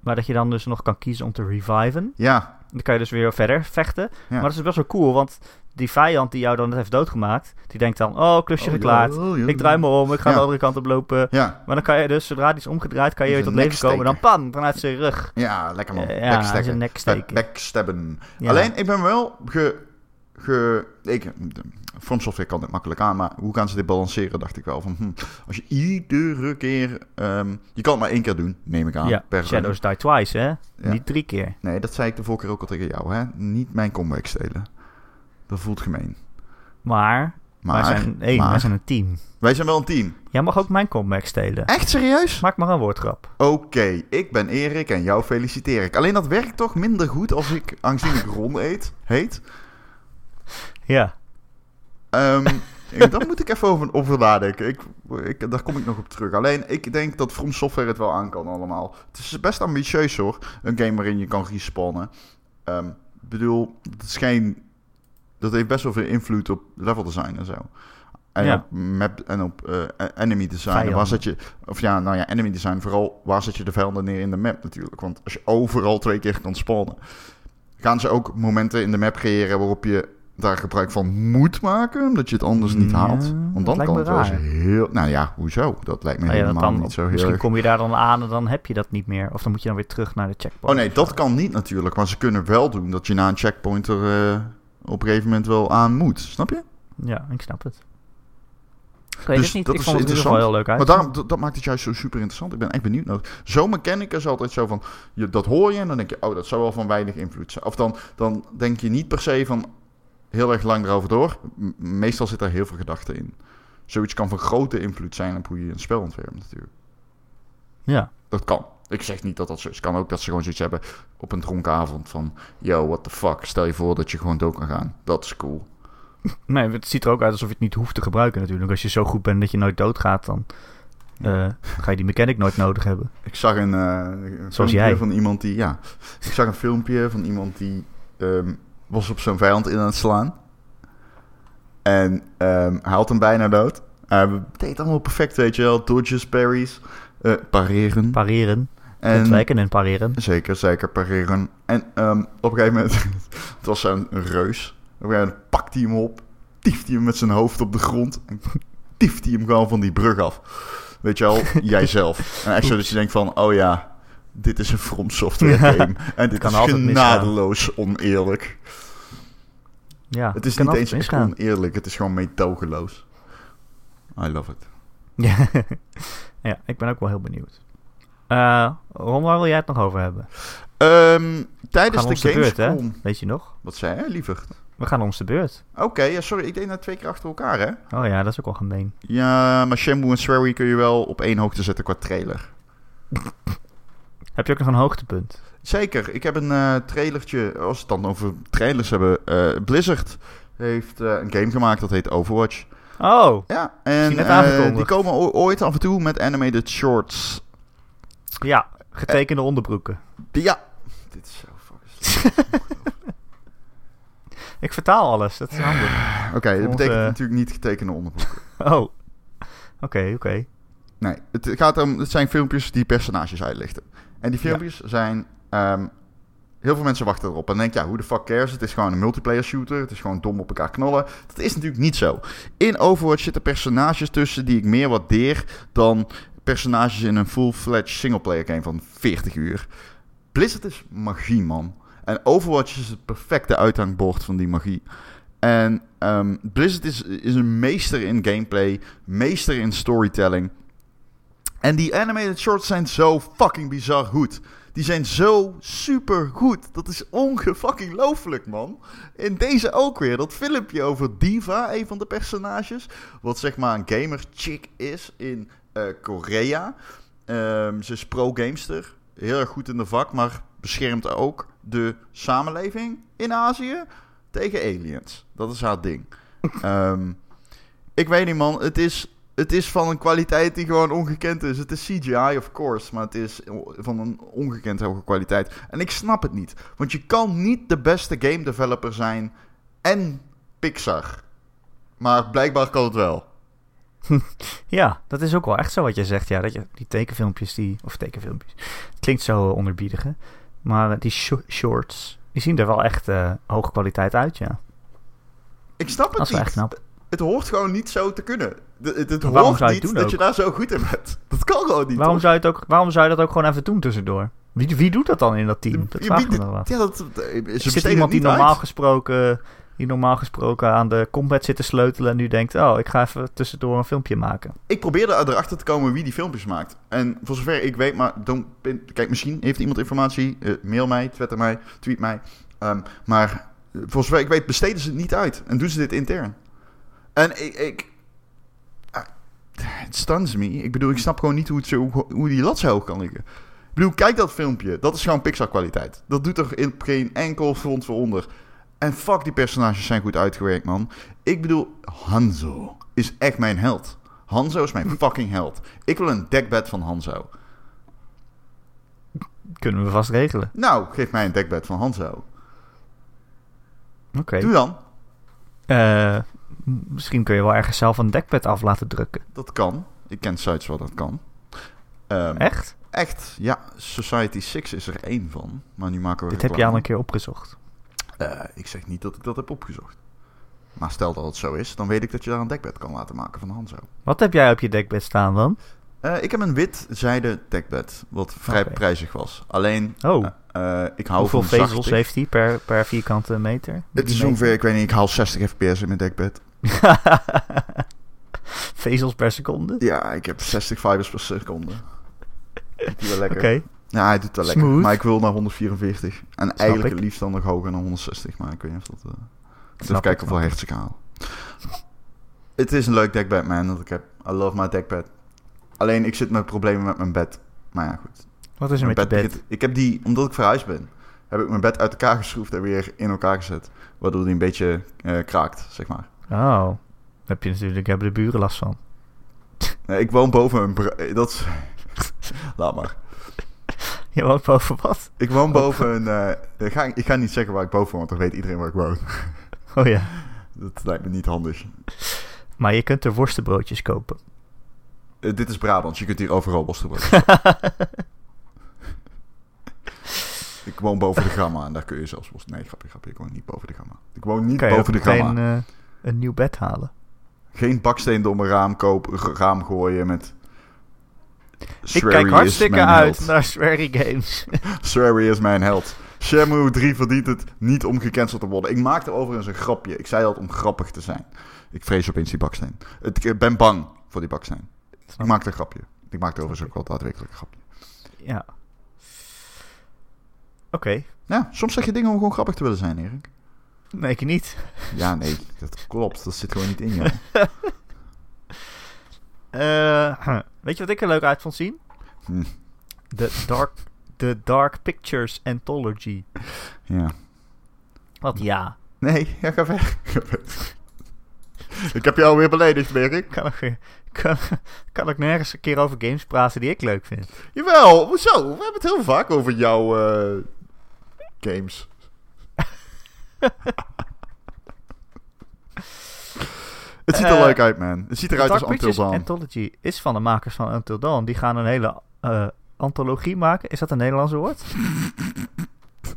S1: Maar dat je dan dus nog kan kiezen om te reviven.
S2: Ja,
S1: Dan kan je dus weer verder vechten. Maar dat is best wel cool, want die vijand die jou dan net heeft doodgemaakt... die denkt dan, oh, klusje geklaard. Ik draai me om, ik ga
S2: Ja.
S1: de andere kant op lopen.
S2: Ja,
S1: Maar dan kan je dus, zodra die is omgedraaid, kan je
S2: Met
S1: weer tot leven
S2: zijn
S1: komen. En dan
S2: Dus neksteker.
S1: pan, vanuit zijn rug.
S2: ja, lekker man.
S1: Eh,
S2: Leksteken.
S1: ja, aan zijn nek steken.
S2: Backstabben.
S1: Ja.
S2: Alleen, ik ben wel ge... ge ik, From Software kan dit makkelijk aan, maar hoe gaan ze dit balanceren, dacht ik wel. Van, hm, als je iedere keer... ehm, je kan het maar één keer doen, neem ik aan.
S1: Ja,
S2: per
S1: Shadows Die Twice, hè?
S2: Ja.
S1: Niet drie keer.
S2: Nee, dat zei ik de vorige keer ook al tegen jou. Hè? Niet mijn comeback stelen. Dat voelt gemeen.
S1: Maar,
S2: Maar,
S1: wij zijn één,
S2: maar-
S1: wij zijn een team.
S2: wij zijn wel een team.
S1: Jij mag ook mijn comeback stelen.
S2: Echt serieus?
S1: Maak maar een woordgrap.
S2: Oké, ik ben Erik en jou feliciteer ik. Alleen dat werkt toch minder goed als ik aanzienlijk Ron eet, heet.
S1: Ja.
S2: Ehm ik- daar moet ik even over, over nadenken. Ik, ik, daar kom ik nog op terug. Alleen, ik denk dat From Software het wel aan kan allemaal. Het is best ambitieus hoor. Een game waarin je kan respawnen. Ehm, ik bedoel, het is geen... Dat heeft best wel veel invloed op level design en zo. En
S1: Ja.
S2: op map en op eh, enemy design.
S1: Vijanden.
S2: Waar zet je... Of ja, nou ja, enemy design. Vooral waar zet je de vijanden neer in de map natuurlijk. Want als je overal twee keer kan spawnen... gaan ze ook momenten in de map creëren waarop je daar gebruik van moet maken, omdat je het anders niet
S1: Ja,
S2: haalt.
S1: dat
S2: Want dan
S1: lijkt
S2: kan
S1: me
S2: het wel eens
S1: raar.
S2: heel... Nou ja, hoezo? Dat lijkt me
S1: Nou ja, dat
S2: helemaal
S1: dan,
S2: niet zo heel
S1: misschien
S2: erg...
S1: kom je daar dan aan en dan heb je dat niet meer. Of dan moet je dan weer terug naar de checkpoint.
S2: Oh nee, dat kan niet natuurlijk. Maar ze kunnen wel doen dat je na een checkpoint er eh, op een gegeven moment wel aan moet. Snap je?
S1: Ja, ik snap het. Ik weet
S2: Dus
S1: het niet.
S2: dat
S1: ik
S2: is
S1: vond het in ieder geval heel leuk uit.
S2: Maar daarom, dat, dat maakt het juist zo super interessant. Ik ben echt benieuwd naar. Zo'n mechanica is altijd zo van, je, dat hoor je en dan denk je, oh, dat zou wel van weinig invloed zijn. Of dan, dan denk je niet per se van heel erg lang erover door. M- meestal zit daar heel veel gedachten in. Zoiets kan van grote invloed zijn op hoe je een spel ontwerpt natuurlijk.
S1: Ja.
S2: Dat kan. Ik zeg niet dat dat zo is. kan ook dat ze gewoon zoiets hebben op een dronken avond van... Yo, what the fuck, stel je voor dat je gewoon dood kan gaan. Dat is cool.
S1: Nee, het ziet er ook uit alsof je het niet hoeft te gebruiken natuurlijk. Als je zo goed bent dat je nooit doodgaat, dan eh, ga je die mechanic nooit nodig hebben.
S2: Ik zag een, eh, een
S1: Zoals
S2: filmpje
S1: jij.
S2: van iemand die... Ja, ik zag een filmpje van iemand die ehm, was op zijn vijand in aan het slaan. En ehm, hij had hem bijna dood. Hij deed allemaal perfect, weet je wel. Dodges, parries, eh, pareren.
S1: Pareren,
S2: en,
S1: ontwijken en pareren.
S2: zeker, zeker, pareren. En ehm, op een gegeven moment... het was zo'n reus. Op een gegeven moment pakt hij hem op. Tieft hij hem met zijn hoofd op de grond. En tieft hij hem gewoon van die brug af. Weet je wel, jijzelf. En echt zo dat je denkt van... Oh ja, dit is een From Software game. en dit
S1: Kan
S2: is
S1: altijd misgaan.
S2: genadeloos oneerlijk.
S1: Ja,
S2: Het is
S1: kan
S2: niet
S1: altijd
S2: eens echt
S1: misgaan.
S2: oneerlijk, het is gewoon meetogeloos. I love it.
S1: Ja. ja, ik ben ook wel heel benieuwd. Eh Ron, waar wil jij het nog over hebben?
S2: Ehm, tijdens
S1: Gaan
S2: de
S1: ons de beurt, hè?
S2: Gamescom...
S1: Weet je nog?
S2: Wat zei hij, liever?
S1: We gaan ons de beurt.
S2: Oké, ja, sorry, ik deed nou twee keer achter elkaar, hè?
S1: Oh ja, dat is ook wel gemeen.
S2: Ja, maar Shenmue en Swery kun je wel op één hoogte zetten qua trailer.
S1: Heb je ook nog een hoogtepunt?
S2: Zeker, ik heb een eh trailertje, als we het dan over trailers hebben. eh, Blizzard heeft eh, een game gemaakt dat heet Overwatch.
S1: Oh,
S2: Ja, en
S1: net
S2: eh,
S1: aangekondigd.
S2: die komen o- ooit af en toe met animated shorts.
S1: ja. Getekende onderbroeken.
S2: Ja, dit is zo fucking slecht.
S1: Ik vertaal alles, dat is handig.
S2: Oké, dat
S1: Volgens,
S2: betekent
S1: eh,
S2: natuurlijk niet getekende onderbroeken.
S1: Oh, oké, oké.
S2: Nee, het, gaat om, het zijn filmpjes die personages uitlichten. En die filmpjes zijn... ehm, heel veel mensen wachten erop en denken, ja, hoe de fuck cares? Het is gewoon een multiplayer shooter. Het is gewoon dom op elkaar knallen. Dat is natuurlijk niet zo. In Overwatch zitten personages tussen die ik meer waardeer dan personages in een full-fledged singleplayer game van 40 uur. Blizzard is magie, man. En Overwatch is het perfecte uithangbord van die magie. En ehm, Blizzard is, is een meester in gameplay, meester in storytelling. En die animated shorts zijn zo fucking bizar goed. Die zijn zo super goed. Dat is ongefucking looflijk, man. In deze ook weer. Dat filmpje over Diva, een van de personages. Wat zeg maar een gamer chick is in eh, Korea. Ehm, ze is pro-gamester. Heel erg goed in de vak, maar beschermt ook de samenleving in Azië tegen aliens. Dat is haar ding. Ehm, ik weet niet, man. Het is het is van een kwaliteit die gewoon ongekend is. Het is CGI, of course, maar het is van een ongekend hoge kwaliteit. En ik snap het niet. Want je kan niet de beste game developer zijn en Pixar. Maar blijkbaar kan het wel.
S1: Ja, dat is ook wel echt zo wat je zegt. Ja, dat je die tekenfilmpjes, die, of tekenfilmpjes, het klinkt zo eh, onderbiedig, hè. Maar eh, die sho- shorts, die zien er wel echt eh hoge kwaliteit uit, ja.
S2: Ik snap het
S1: Dat is wel
S2: niet.
S1: echt knap.
S2: Het hoort gewoon niet zo te kunnen. D- het het
S1: Maar waarom
S2: hoort
S1: zou je het
S2: niet
S1: doen
S2: dat
S1: ook?
S2: je daar zo goed in bent. Dat kan gewoon niet.
S1: Waarom
S2: hoor.
S1: zou, je het ook, waarom zou je dat ook gewoon even doen tussendoor? Wie, wie doet dat dan in dat team? Dat
S2: Je
S1: vraag ik me
S2: biedt-
S1: dan wat.
S2: Ja, dat, eh, ze
S1: Is zit
S2: besteden
S1: iemand die
S2: niet uit.
S1: normaal, gesproken, die normaal gesproken aan de combat zit te sleutelen en nu denkt, oh, ik ga even tussendoor een filmpje maken.
S2: Ik probeerde erachter te komen wie die filmpjes maakt. En voor zover ik weet, maar don't pin- kijk, misschien heeft iemand informatie. Eh, mail mij, twitter mij, tweet mij. Ehm, maar eh, voor zover ik weet, besteden ze het niet uit. En doen ze dit intern. En ik. ik Ah, het stuns me. Ik bedoel, ik snap gewoon niet hoe, het zo, hoe die lat zo hoog kan liggen. Ik bedoel, kijk dat filmpje. Dat is gewoon Pixar-kwaliteit. Dat doet er in geen enkel front voor onder. En fuck, die personages zijn goed uitgewerkt, man. Ik bedoel, Hanzo is echt mijn held. Hanzo is mijn fucking held. Ik wil een dekbed van Hanzo.
S1: Kunnen we vast regelen.
S2: Nou, geef mij een dekbed van Hanzo.
S1: Oké.
S2: Doe dan.
S1: Eh, m- misschien kun je wel ergens zelf een dekbed af laten drukken.
S2: Dat kan. Ik ken sites waar dat kan. Ehm,
S1: Echt?
S2: Echt, ja. Society 6 is er één van. Maar nu maken we
S1: Dit heb je al
S2: reclame.
S1: een keer opgezocht.
S2: Eh, ik zeg niet dat ik dat heb opgezocht. Maar stel dat het zo is, dan weet ik dat je daar een dekbed kan laten maken van Hanzo.
S1: Wat heb jij op je dekbed staan dan?
S2: Eh, ik heb een wit zijden dekbed, wat vrij
S1: Oké.
S2: prijzig was. Alleen,
S1: Oh,
S2: eh, eh, ik hou
S1: hoeveel
S2: van
S1: vezels
S2: zacht.
S1: heeft hij per, per vierkante meter?
S2: Het is ongeveer, ik weet niet, ik haal 60 fps in mijn dekbed.
S1: vezels per seconde?
S2: Ja, ik heb 60 fibers per seconde. Doet hij wel
S1: Oké.
S2: lekker. Ja, hij doet wel lekker.
S1: Smooth.
S2: Maar ik wil naar 144. En eigenlijk
S1: ik.
S2: het liefst dan nog hoger naar 160. Maar ik weet niet of dat...
S1: Snap
S2: eh, even
S1: ik,
S2: kijken
S1: snap
S2: hoeveel hertz ik haal. Het is een leuk dekbed, man, dat ik heb. I love my dekbed. Alleen, ik zit met problemen met mijn bed. Maar ja, goed.
S1: Wat is er
S2: Mijn
S1: met je bed?
S2: begint- ik heb die, omdat ik verhuisd ben, heb ik mijn bed uit elkaar geschroefd en weer in elkaar gezet. Waardoor die een beetje eh, kraakt, zeg maar.
S1: Oh, daar heb je natuurlijk, hebben de buren last van.
S2: Nee, Eh, ik woon boven een... bra- eh, Dat is... Laat maar.
S1: Je woont boven wat?
S2: Ik woon boven een... eh, ik, ga, ik ga niet zeggen waar ik boven woon, want dan weet iedereen waar ik woon.
S1: Oh ja.
S2: Dat lijkt me niet handig.
S1: Maar je kunt er worstenbroodjes kopen.
S2: Eh, dit is Brabant, je kunt hier overal worsten worden. ik woon boven de gamma en daar kun je zelfs worsten. Nee, grapje, grapje. Ik woon niet boven de gamma. Ik woon niet
S1: Kan je ook
S2: boven de gamma.
S1: meteen eh, een nieuw bed halen.
S2: Geen baksteen door mijn raam, koop, raam gooien met
S1: ik kijk hartstikke uit naar Swery Games.
S2: Swery is mijn held. Shenmue 3 verdient het niet om gecanceld te worden. Ik maakte overigens een grapje. Ik zei dat om grappig te zijn. Ik vrees opeens die baksteen. Het- Ik ben bang voor die baksteen.
S1: Oh.
S2: Ik maakte een grapje. Ik maakte overigens ook wel daadwerkelijk een grapje.
S1: Ja. Oké.
S2: Ja, soms zeg je dingen om gewoon grappig te willen zijn, Erik.
S1: Nee, ik niet.
S2: Ja, nee, dat klopt. Dat zit gewoon niet in jou.
S1: Eh, weet je wat ik er leuk uit vond zien?
S2: Hm,
S1: De Dark, de dark Pictures Anthology.
S2: ja.
S1: Wat ja.
S2: Nee, ja, ga weg. Ga weg. Ik heb jou weer beledigd, Erik.
S1: Kan ik, kan, kan ik nergens een keer over games praten die ik leuk vind.
S2: Jawel, hoezo? We hebben het heel vaak over jouw eh, games. het ziet er
S1: Eh,
S2: leuk uit, man. Het ziet eruit
S1: Dark
S2: als Until
S1: Pictures
S2: Dawn.
S1: Anthology is van de makers van Until Dawn. Die gaan een hele eh, antologie maken. Is dat een Nederlandse woord?
S2: Ik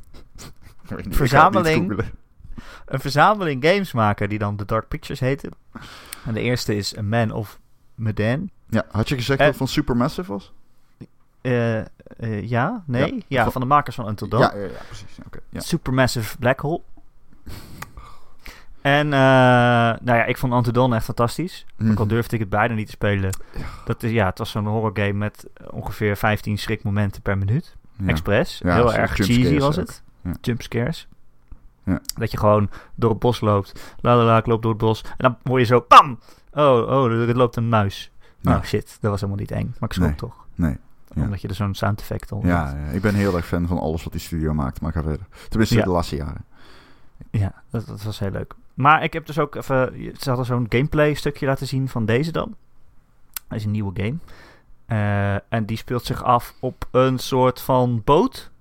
S2: weet niet, ik ga het niet
S1: verzameling.
S2: googelen.
S1: Een verzameling games maken die dan de Dark Pictures heten. En de eerste is A Man of Medan.
S2: Ja, had je gezegd
S1: Eh,
S2: dat het van Supermassive was?
S1: Eh, eh, ja? Nee?
S2: Ja.
S1: Ja,
S2: Van-
S1: van de makers van Until Dawn.
S2: Ja, ja, ja, precies. Ja, oké, ja.
S1: Supermassive Black Hole. En, eh, nou ja, ik vond Until Dawn echt fantastisch. Ook al
S2: Mhm.
S1: durfde ik het bijna niet te spelen. Dat is, ja, het was zo'n horrorgame met ongeveer 15 schrikmomenten per minuut.
S2: Ja.
S1: Express.
S2: Ja,
S1: Heel
S2: zo'n
S1: erg
S2: jumpscares
S1: cheesy was
S2: ook.
S1: het.
S2: Ja.
S1: Jumpscares.
S2: Ja.
S1: Dat je gewoon door het bos loopt. La la la, ik loop door het bos. En dan hoor je zo, pam! Oh, oh, er er loopt een muis.
S2: Ja.
S1: Oh shit, dat was helemaal niet eng. Maar ik schrok
S2: Nee.
S1: toch.
S2: Nee. Ja.
S1: Omdat je er zo'n sound effect al
S2: Ja, ja, ik ben heel erg fan van alles wat die studio maakt, maar ga verder. Tenminste,
S1: Ja.
S2: de laatste jaren.
S1: Ja, dat, dat was heel leuk. Maar ik heb dus ook even... je- Ze hadden zo'n gameplay stukje laten zien van deze dan. Dat is een nieuwe game. Eh, en die speelt zich af op een soort van boot.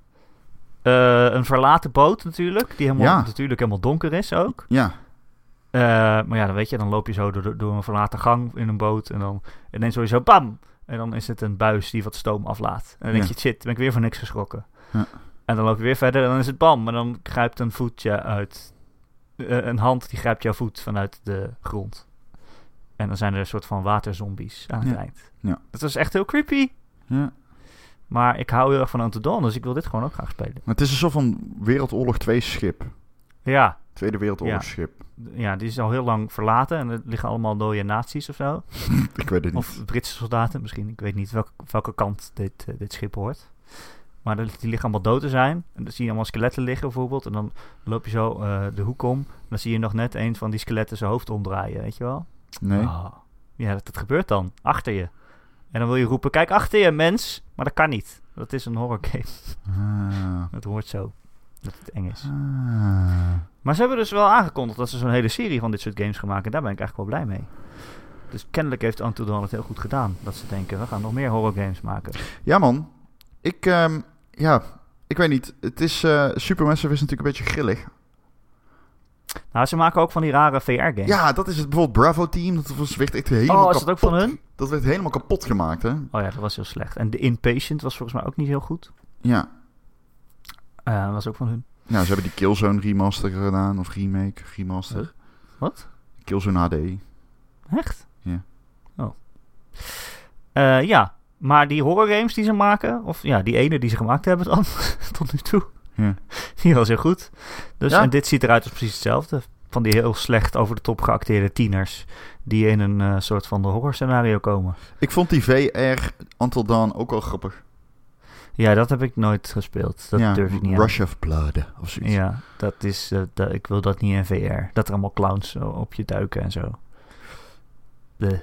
S1: Eh, een verlaten boot natuurlijk. Die helemaal,
S2: Ja.
S1: natuurlijk helemaal donker is ook.
S2: Ja,
S1: Eh, maar ja, dan weet je, dan loop je zo door, de- door een verlaten gang in een boot. En dan ineens hoor je zo bam! En dan is het een buis die wat stoom aflaat. En dan denk
S2: Ja.
S1: je, shit, ben ik weer voor niks geschrokken.
S2: Ja.
S1: En dan loop je weer verder en dan is het bam! En dan grijpt een voetje uit... eh, een hand die grijpt jouw voet vanuit de grond. En dan zijn er een soort van waterzombies aan het
S2: Ja.
S1: eind.
S2: Ja.
S1: Dat was echt heel creepy.
S2: ja.
S1: Maar ik hou heel erg van Until Dawn, dus ik wil dit gewoon ook graag spelen.
S2: Maar het is alsof een Wereldoorlog 2 schip.
S1: Ja,
S2: Tweede Wereldoorlogsschip.
S1: ja die is al heel lang verlaten en er liggen allemaal dode nazi's of zo.
S2: Ik weet het niet.
S1: Of Britse soldaten misschien. Ik weet niet welke, welke kant dit, eh, dit schip hoort. Maar dat- die liggen allemaal dood te zijn. En dan zie je allemaal skeletten liggen bijvoorbeeld. En dan loop je zo eh, de hoek om. En dan zie je nog net een van die skeletten zijn hoofd omdraaien, weet je wel?
S2: Nee.
S1: Ah. Ja, dat, dat gebeurt dan. Achter je. En dan wil je roepen, kijk achter je mens. Maar dat kan niet. Dat is een horror game.
S2: Ah.
S1: Dat hoort zo. Dat het eng is.
S2: Ah.
S1: Maar ze hebben dus wel aangekondigd dat ze zo'n hele serie van dit soort games gaan maken. En daar ben ik eigenlijk wel blij mee. Dus kennelijk heeft Until Dawn het heel goed gedaan. Dat ze denken, we gaan nog meer horror games maken.
S2: Ja, man. Ik, ehm, ja, ik weet niet. Het is, eh Supermassive is natuurlijk een beetje grillig.
S1: Nou, ze maken ook van die rare VR-games.
S2: Ja, dat is het bijvoorbeeld Bravo Team. Dat was, werd echt helemaal
S1: oh, is dat
S2: kapot.
S1: ook van hun?
S2: Dat werd helemaal kapot gemaakt, hè?
S1: Oh ja, dat was heel slecht. En The Inpatient was volgens mij ook niet heel goed.
S2: Ja.
S1: Eh, Dat was ook van hun.
S2: Nou, ze hebben die Killzone remaster gedaan. Of remake, remaster.
S1: Huh? Wat?
S2: Killzone HD.
S1: Echt?
S2: Ja.
S1: Oh. Eh, ja, maar die horror games die ze maken... Of ja, die ene die ze gemaakt hebben dan, tot nu toe...
S2: Ja.
S1: Die was heel goed. Dus,
S2: Ja?
S1: En dit ziet eruit als precies hetzelfde. Van die heel slecht over de top geacteerde tieners... die in een eh, soort van de horror scenario komen.
S2: Ik vond die VR Until Dawn ook wel grappig.
S1: Ja, dat heb ik nooit gespeeld. Dat
S2: ja,
S1: durf ik niet aan.
S2: Rush of Blood of zoiets.
S1: Ja, dat is, eh, dat- ik wil dat niet in VR. Dat er allemaal clowns zo op je duiken en zo. De.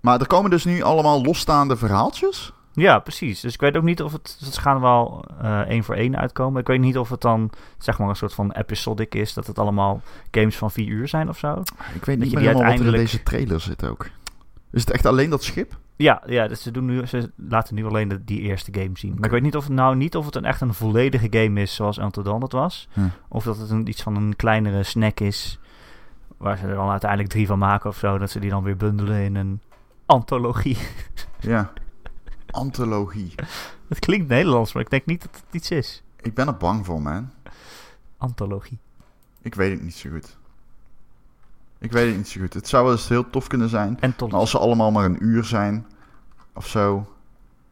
S2: Maar er komen dus nu allemaal losstaande verhaaltjes.
S1: Ja, precies. Dus ik weet ook niet of het... Ze gaan wel eh, één voor één uitkomen. Ik weet niet of het dan zeg maar een soort van episodic is. Dat het allemaal games van vier uur zijn of zo.
S2: Ik weet
S1: Dat
S2: niet
S1: je
S2: meer
S1: die
S2: helemaal wat er in
S1: uiteindelijk-
S2: deze trailer zit ook. Is het echt alleen dat schip?
S1: Ja, ja dus ze, doen nu, ze laten nu alleen de- die eerste game zien. Maar ik weet niet of het nou niet of het een, echt een volledige game is zoals Until Dawn dat was.
S2: Hm.
S1: Of dat het een, iets van een kleinere snack is. Waar ze er dan uiteindelijk drie van maken of zo. Dat ze die dan weer bundelen in een antologie.
S2: Ja. Antologie.
S1: Het klinkt Nederlands, maar ik denk niet dat het iets is.
S2: Ik ben er bang voor, man.
S1: Antologie.
S2: Ik weet het niet zo goed. Ik weet het niet zo goed. Het zou wel eens heel tof kunnen zijn.
S1: En
S2: Maar als ze allemaal maar een uur zijn of zo.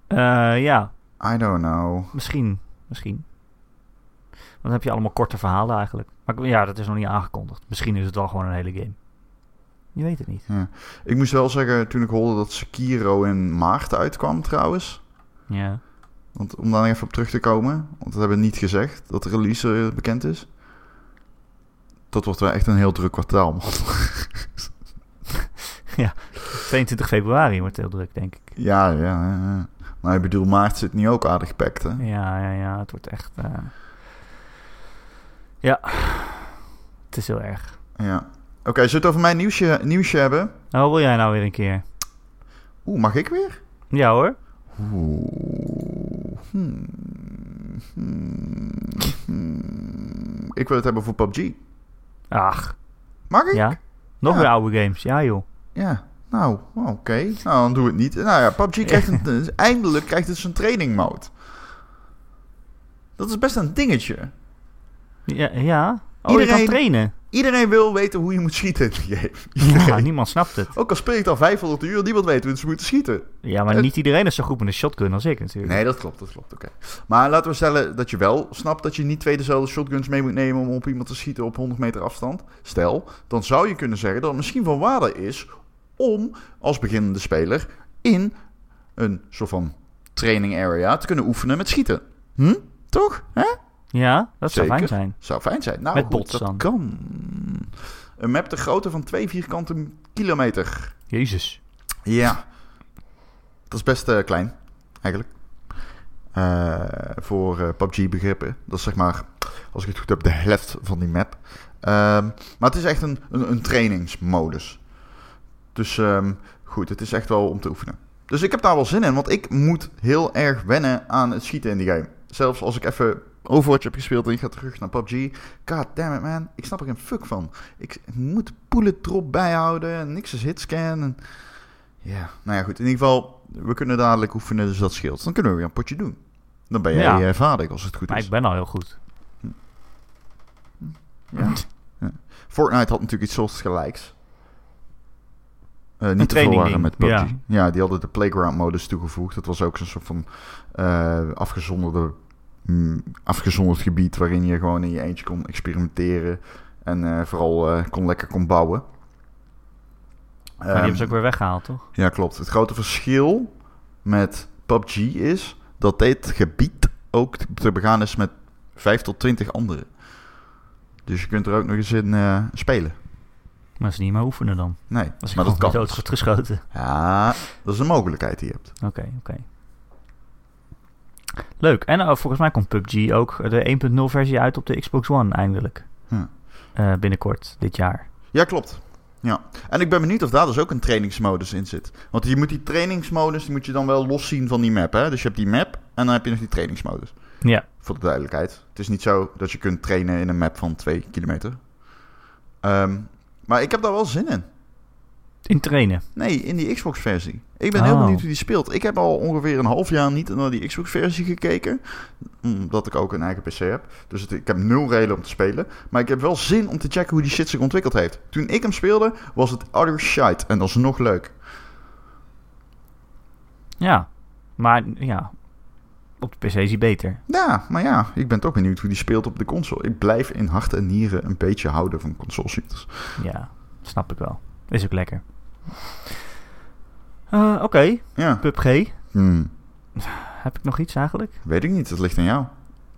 S1: Eh, ja,
S2: I don't know.
S1: misschien. Misschien. Want Dan heb je allemaal korte verhalen eigenlijk. Maar ik- ja, dat is nog niet aangekondigd. Misschien is het wel gewoon een hele game. Je weet het niet.
S2: Ik moest wel zeggen, toen ik hoorde dat Sekiro in maart uitkwam trouwens.
S1: Ja.
S2: Want om daar even op terug te komen. Want dat hebben we niet gezegd, dat de release eh, bekend is. Dat wordt wel echt een heel druk kwartaal, man.
S1: 22 februari wordt heel druk, denk ik.
S2: Ja, ja, ja, ja. Maar ik bedoel, maart zit niet ook aardig gepakt, hè?
S1: Ja, ja, ja. Het wordt echt... eh, Ja. Het is heel erg.
S2: Ja. Oké, zullen we het over mijn nieuwsje, nieuwsje hebben?
S1: Nou, wil jij nou weer een keer?
S2: Oeh, mag ik weer?
S1: Ja hoor.
S2: Oeh. Hmm. Hmm. Hmm. Ik wil het hebben voor PUBG.
S1: Ach,
S2: Mag ik?
S1: ja. Nog
S2: Ja.
S1: weer oude games. Ja joh.
S2: Ja. Nou, oké. Nou, dan doen we het niet. Nou ja, PUBG krijgt een, eindelijk krijgt het zijn training mode. Dat is best een dingetje.
S1: Ja. ja. Oh, je
S2: Iedereen-
S1: kan trainen.
S2: Iedereen wil weten hoe je moet schieten in die game.
S1: Ja,
S2: Iedereen.
S1: niemand snapt het.
S2: Ook al speel ik al 500 uur, niemand weet hoe ze moeten schieten.
S1: Ja, maar
S2: Het-
S1: niet iedereen is zo goed met een shotgun als ik natuurlijk.
S2: Nee, dat klopt, dat klopt. Oké. Maar laten we stellen dat je wel snapt dat je niet twee dezelfde shotguns mee moet nemen om op iemand te schieten op 100 meter afstand. Stel, dan zou je kunnen zeggen dat het misschien van waarde is om als beginnende speler in een soort van training area te kunnen oefenen met schieten. Hm? Toch? Hè?
S1: Ja, dat zou
S2: Zeker.
S1: fijn zijn.
S2: Zou fijn zijn. Nou,
S1: Met
S2: goed,
S1: bots
S2: dat
S1: dan.
S2: kan. Een map de grootte van twee vierkante kilometer.
S1: Jezus.
S2: Ja. Dat is best eh, klein, eigenlijk. Eh, voor eh, PUBG begrippen. Dat is zeg maar, als ik het goed heb, de helft van die map. Ehm, maar het is echt een, een, een trainingsmodus. Dus ehm, goed, het is echt wel om te oefenen. Dus ik heb daar wel zin in, want ik moet heel erg wennen aan het schieten in die game. Zelfs als ik even Overwatch heb gespeeld en ik ga terug naar PUBG. God damn it man, ik snap er geen fuck van. Ik moet bullet drop bijhouden en niks is hitscan. En... Ja, nou ja goed, in ieder geval, we kunnen dadelijk oefenen, dus dat scheelt. Dan kunnen we weer een potje doen. Dan ben jij
S1: Ja.
S2: eh, vaardig als het goed
S1: Maar
S2: is.
S1: ik ben al heel goed.
S2: Ja. Fortnite had natuurlijk iets soortgelijks. Eh niet te
S1: training
S2: verwarren met
S1: ding,
S2: PUBG. Ja.
S1: ja.
S2: die hadden de playground modus toegevoegd. Dat was ook zo'n soort van eh, afgezonderde, mm, afgezonderd gebied... waarin je gewoon in je eentje kon experimenteren... en eh, vooral eh, kon lekker kon bouwen.
S1: Maar die
S2: Ehm,
S1: hebben ze ook weer weggehaald, toch?
S2: Ja, klopt. Het grote verschil met PUBG is... dat dit gebied ook te begaan is met 5 tot 20 anderen. Dus je kunt er ook nog eens in eh, spelen.
S1: Maar ze niet meer oefenen dan.
S2: Nee,
S1: Als ik
S2: maar dat
S1: gewoon
S2: kan.
S1: dood geschoten.
S2: Ja, dat is een mogelijkheid die je hebt.
S1: Oké, oké. Leuk. En eh, volgens mij komt PUBG ook de 1.0 versie uit op de Xbox One eindelijk.
S2: Ja.
S1: Eh, binnenkort, dit jaar.
S2: Ja, klopt. Ja. En ik ben benieuwd of daar dus ook een trainingsmodus in zit. Want je moet die trainingsmodus die moet je dan wel loszien van die map. Hè? Dus je hebt die map en dan heb je nog die trainingsmodus.
S1: Ja.
S2: Voor de duidelijkheid. Het is niet zo dat je kunt trainen in een map van 2 kilometer. Ehm, maar ik heb daar wel zin in.
S1: In trainen.
S2: Nee, in die Xbox-versie. Ik ben heel
S1: Oh.
S2: benieuwd hoe die speelt. Ik heb al ongeveer een half jaar niet naar die Xbox-versie gekeken. Omdat ik ook een eigen PC heb. Dus het- ik heb nul reden om te spelen. Maar ik heb wel zin om te checken hoe die shit zich ontwikkeld heeft. Toen ik hem speelde, was het utter shite. En dat is nog leuk.
S1: Ja. Maar ja, op de PC is hij beter.
S2: Ja, maar ja, ik ben toch benieuwd hoe die speelt op de console. Ik blijf in hart en nieren een beetje houden van console shooters.
S1: Ja, snap ik wel. Is ook lekker. Eh, oké,
S2: Ja,
S1: PUBG.
S2: Hm,
S1: Heb ik nog iets eigenlijk?
S2: weet ik niet. Dat ligt aan jou.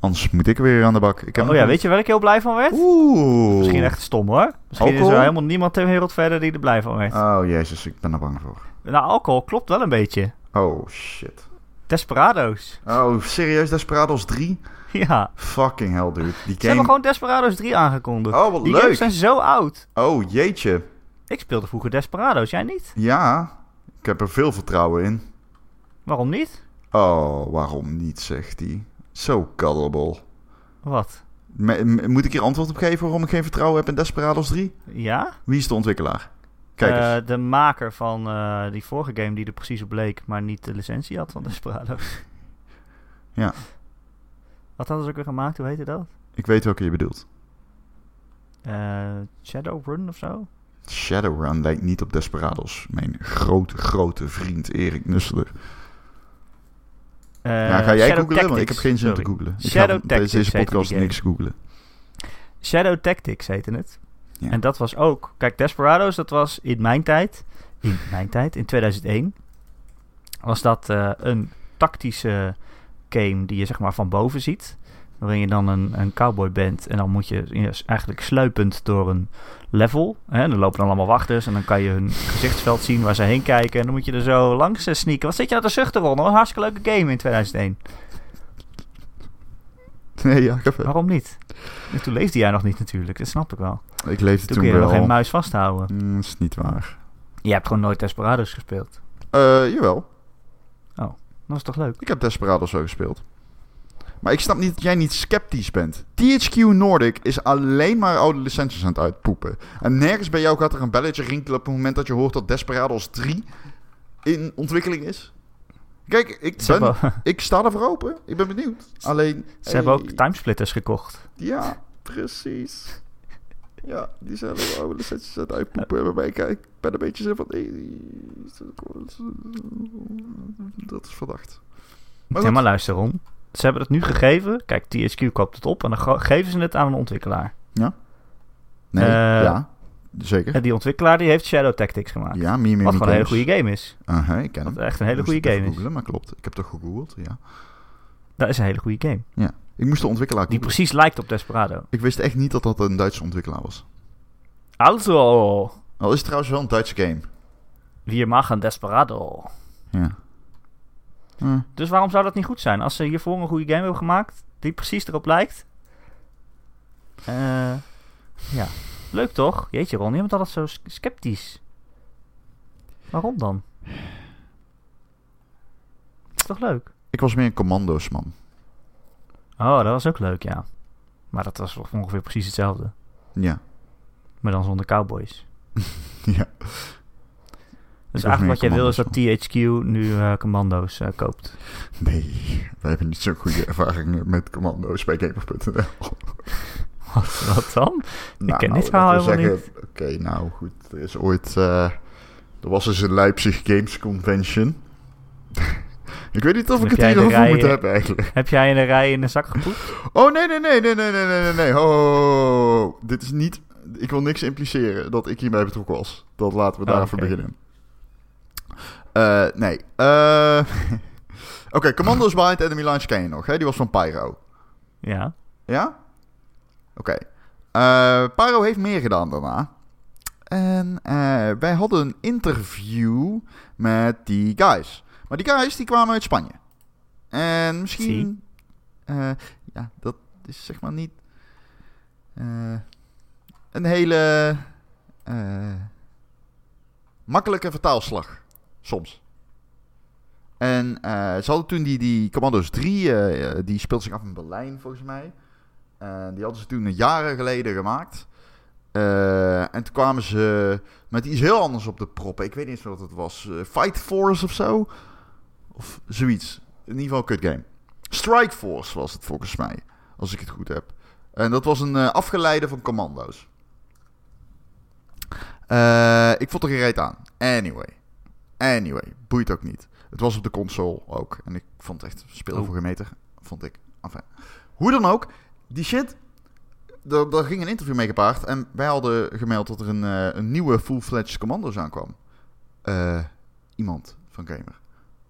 S2: Anders moet ik weer aan de bak. Ik heb
S1: Oh ja, weet je waar ik heel blij van werd?
S2: Oeh.
S1: Misschien echt stom hoor. Misschien is
S2: Alcohol?
S1: er helemaal niemand ter wereld verder die er blij van werd.
S2: Oh jezus, ik ben er bang voor.
S1: Nou, alcohol klopt wel een beetje.
S2: Oh shit.
S1: Desperados.
S2: Oh, serieus? Desperados 3?
S1: Ja.
S2: Fucking hell, dude. Die
S1: Ze
S2: game...
S1: hebben gewoon Desperados 3 aangekondigd.
S2: Oh, wat
S1: Die
S2: leuk.
S1: games zijn zo oud.
S2: Oh, jeetje.
S1: Ik speelde vroeger Desperados, jij niet?
S2: Ja, ik heb er veel vertrouwen in.
S1: Waarom niet?
S2: Oh, waarom niet, zegt hij. Zo cuddable.
S1: Wat?
S2: Me- me- moet ik hier antwoord op geven waarom ik geen vertrouwen heb in Desperados 3?
S1: Ja?
S2: Wie is de ontwikkelaar? Kijk eens.
S1: Eh, de maker van eh, die vorige game die er precies op leek, maar niet de licentie had van Desperados.
S2: Ja.
S1: Wat hadden ze ook weer gemaakt? Hoe heette dat?
S2: Ik weet welke je bedoelt.
S1: Eh, Shadowrun of zo?
S2: Shadowrun lijkt niet op Desperados. Mijn grote, grote vriend Erik Nusseler.
S1: Eh,
S2: ja, Nou, ga jij
S1: Shadow
S2: googlen? Want ik heb
S1: Tactics,
S2: geen zin om
S1: sorry.
S2: te googlen. Ik
S1: Shadow
S2: ga van tijdens
S1: Tactics
S2: deze
S1: heette
S2: podcast
S1: die game.
S2: niks googlen.
S1: Shadow Tactics heette het.
S2: Ja.
S1: En dat was ook... Kijk, Desperados, dat was in mijn tijd... In mijn tijd, in 2001... Was dat eh, een tactische game die je zeg maar van boven ziet. Waarin je dan een, een cowboy bent. En dan moet je ja, s- eigenlijk sluipend door een level. Hè? En dan lopen dan allemaal wachters. En dan kan je hun gezichtsveld zien waar ze heen kijken. En dan moet je er zo langs eh, sneaken. Wat zit je nou te zuchten, Ron? hoor? Hartstikke leuke game in 2001.
S2: Nee, ja, ik, heb-
S1: Waarom niet? En toen leefde jij nog niet natuurlijk. Dat snap ik wel.
S2: ik leefde
S1: Toen
S2: toen
S1: kun je nog geen
S2: wel.
S1: muis vasthouden.
S2: Mm, is niet waar.
S1: Je hebt gewoon nooit Desperados gespeeld.
S2: Eh, jawel,
S1: Dat is toch leuk?
S2: ik heb Desperados zo gespeeld. Maar ik snap niet dat jij niet sceptisch bent. THQ Nordic is alleen maar oude licenties aan het uitpoepen. En nergens bij jou gaat er een belletje rinkelen op het moment dat je hoort dat Desperados 3 in ontwikkeling is. Kijk, ik,
S1: Ze,
S2: ben,
S1: hebben,
S2: ik sta er voor open. Ik ben benieuwd. Alleen, eh,
S1: ze hebben ook
S2: hey.
S1: timesplitters gekocht.
S2: Ja, precies. Ja, die zijn allemaal oude licenties aan het uitpoepen. Waarbij ik, ik ben een beetje zo van... hey, Dat is verdacht. Maar
S1: Maar
S2: goed.
S1: maar luister Ron. Ze hebben het nu gegeven. Kijk, THQ koopt het op en dan ge- geven ze het aan een ontwikkelaar.
S2: Nee,
S1: Eh,
S2: ja. Zeker.
S1: En die ontwikkelaar die heeft Shadow Tactics gemaakt.
S2: Ja, meer meer
S1: wat gewoon een hele goede game is.
S2: Aha, ik ken hem.
S1: Wat echt een hele
S2: Ik moest
S1: goede game
S2: het even
S1: is.
S2: googlen, maar klopt. Ik heb toch gegoogeld, ja.
S1: Dat is een hele goede game.
S2: Ik moest de ontwikkelaar
S1: Die
S2: googlen.
S1: precies lijkt op Desperado.
S2: Ik wist echt niet dat dat een Duitse ontwikkelaar was.
S1: Also,
S2: Al is het trouwens wel een Duitse game.
S1: wie mag een Desperado?
S2: Ja. Eh,
S1: Dus waarom zou dat niet goed zijn? Als ze hiervoor een goede game hebben gemaakt, die precies erop lijkt. Eh, ja, leuk toch? Jeetje Ron, je bent altijd zo s- sceptisch. Waarom dan? Is toch leuk?
S2: ik was meer een commando's man.
S1: Oh, dat was ook leuk, ja. Maar dat was ongeveer precies hetzelfde.
S2: Ja.
S1: Maar dan zonder cowboys.
S2: ja.
S1: Dus
S2: Ik was meer
S1: eigenlijk wat jij wil is dat
S2: commando's
S1: THQ nu eh, commando's eh, koopt.
S2: Nee, wij hebben niet zo'n goede ervaring met commando's bij Gamer.nl.
S1: Wat, wat dan?
S2: Nou,
S1: ken dit
S2: laten
S1: verhaal
S2: we
S1: helemaal
S2: zeggen, Oké, nou goed. Er is ooit... eh, er was eens een Leipzig Games Convention. ik weet niet of
S1: Toen heb
S2: ik het
S1: jij de
S2: hierover
S1: rij,
S2: moet
S1: eh,
S2: hebben eigenlijk.
S1: Heb jij in een rij in de zak gepoept?
S2: Oh, nee, nee, nee, nee, nee, nee, nee, nee, nee. Ho, ho, ho, ho. Dit is niet... Ik wil niks impliceren dat ik hierbij betrokken was. Dat laten we
S1: Oh,
S2: daar even
S1: oké.
S2: beginnen. Eh, nee. eh, Oké, Commando's Behind Enemy Lines ken je nog, hè? Die was van Pyro.
S1: Ja.
S2: Ja? Oké. Eh, Paro heeft meer gedaan daarna. En eh, wij hadden een interview met die guys. Maar die guys die kwamen uit Spanje. En misschien. eh, ja, dat is zeg maar niet. eh, een hele. eh, makkelijke vertaalslag. Soms. En eh, ze hadden toen die, die Commando's 3, eh, die speelt zich af in Berlijn volgens mij. En die hadden ze toen jaren geleden gemaakt. Eh, en toen kwamen ze met iets heel anders op de proppen. Ik weet niet eens wat het was. Eh, Fight Force of zo? Of zoiets. In ieder geval een kut game. Strike Force was het volgens mij. Als ik het goed heb. En dat was een eh, afgeleide van Commando's. Eh, ik vond er geen reet aan. Anyway. Anyway. Boeit ook niet. Het was op de console ook. En ik vond het echt spelen
S1: Oh.
S2: voor geen meter. Vond ik. Enfin. Hoe dan ook. Die shit. Daar daar ging een interview mee gepaard. En wij hadden gemeld dat er een, eh, een nieuwe full-fledged Commando's aankwam. Eh, iemand van Gamer.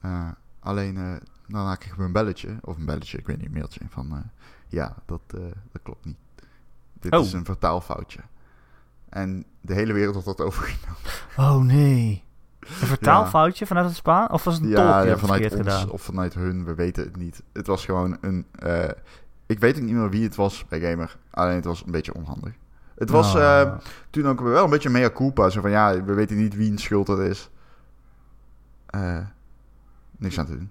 S2: Eh, alleen eh, daarna kregen we een belletje. Of een belletje, ik weet niet, een mailtje. Van eh, ja, dat, eh, dat klopt niet. Dit
S1: Oh.
S2: is een vertaalfoutje. En de hele wereld had dat overgenomen.
S1: Oh nee. Een vertaalfoutje vanuit het Spaans? Of was het een tolk
S2: Ja,
S1: die
S2: ja,
S1: dat
S2: vanuit ons
S1: verkeerd gedaan?
S2: of vanuit hun, we weten het niet. Het was gewoon een... eh, ik weet ook niet meer wie het was bij Gamer. Alleen het was een beetje onhandig. Het was
S1: Oh.
S2: eh, toen ook wel een beetje mea culpa. Zo van, ja, we weten niet wie een schuld dat is. Eh, niks aan te doen.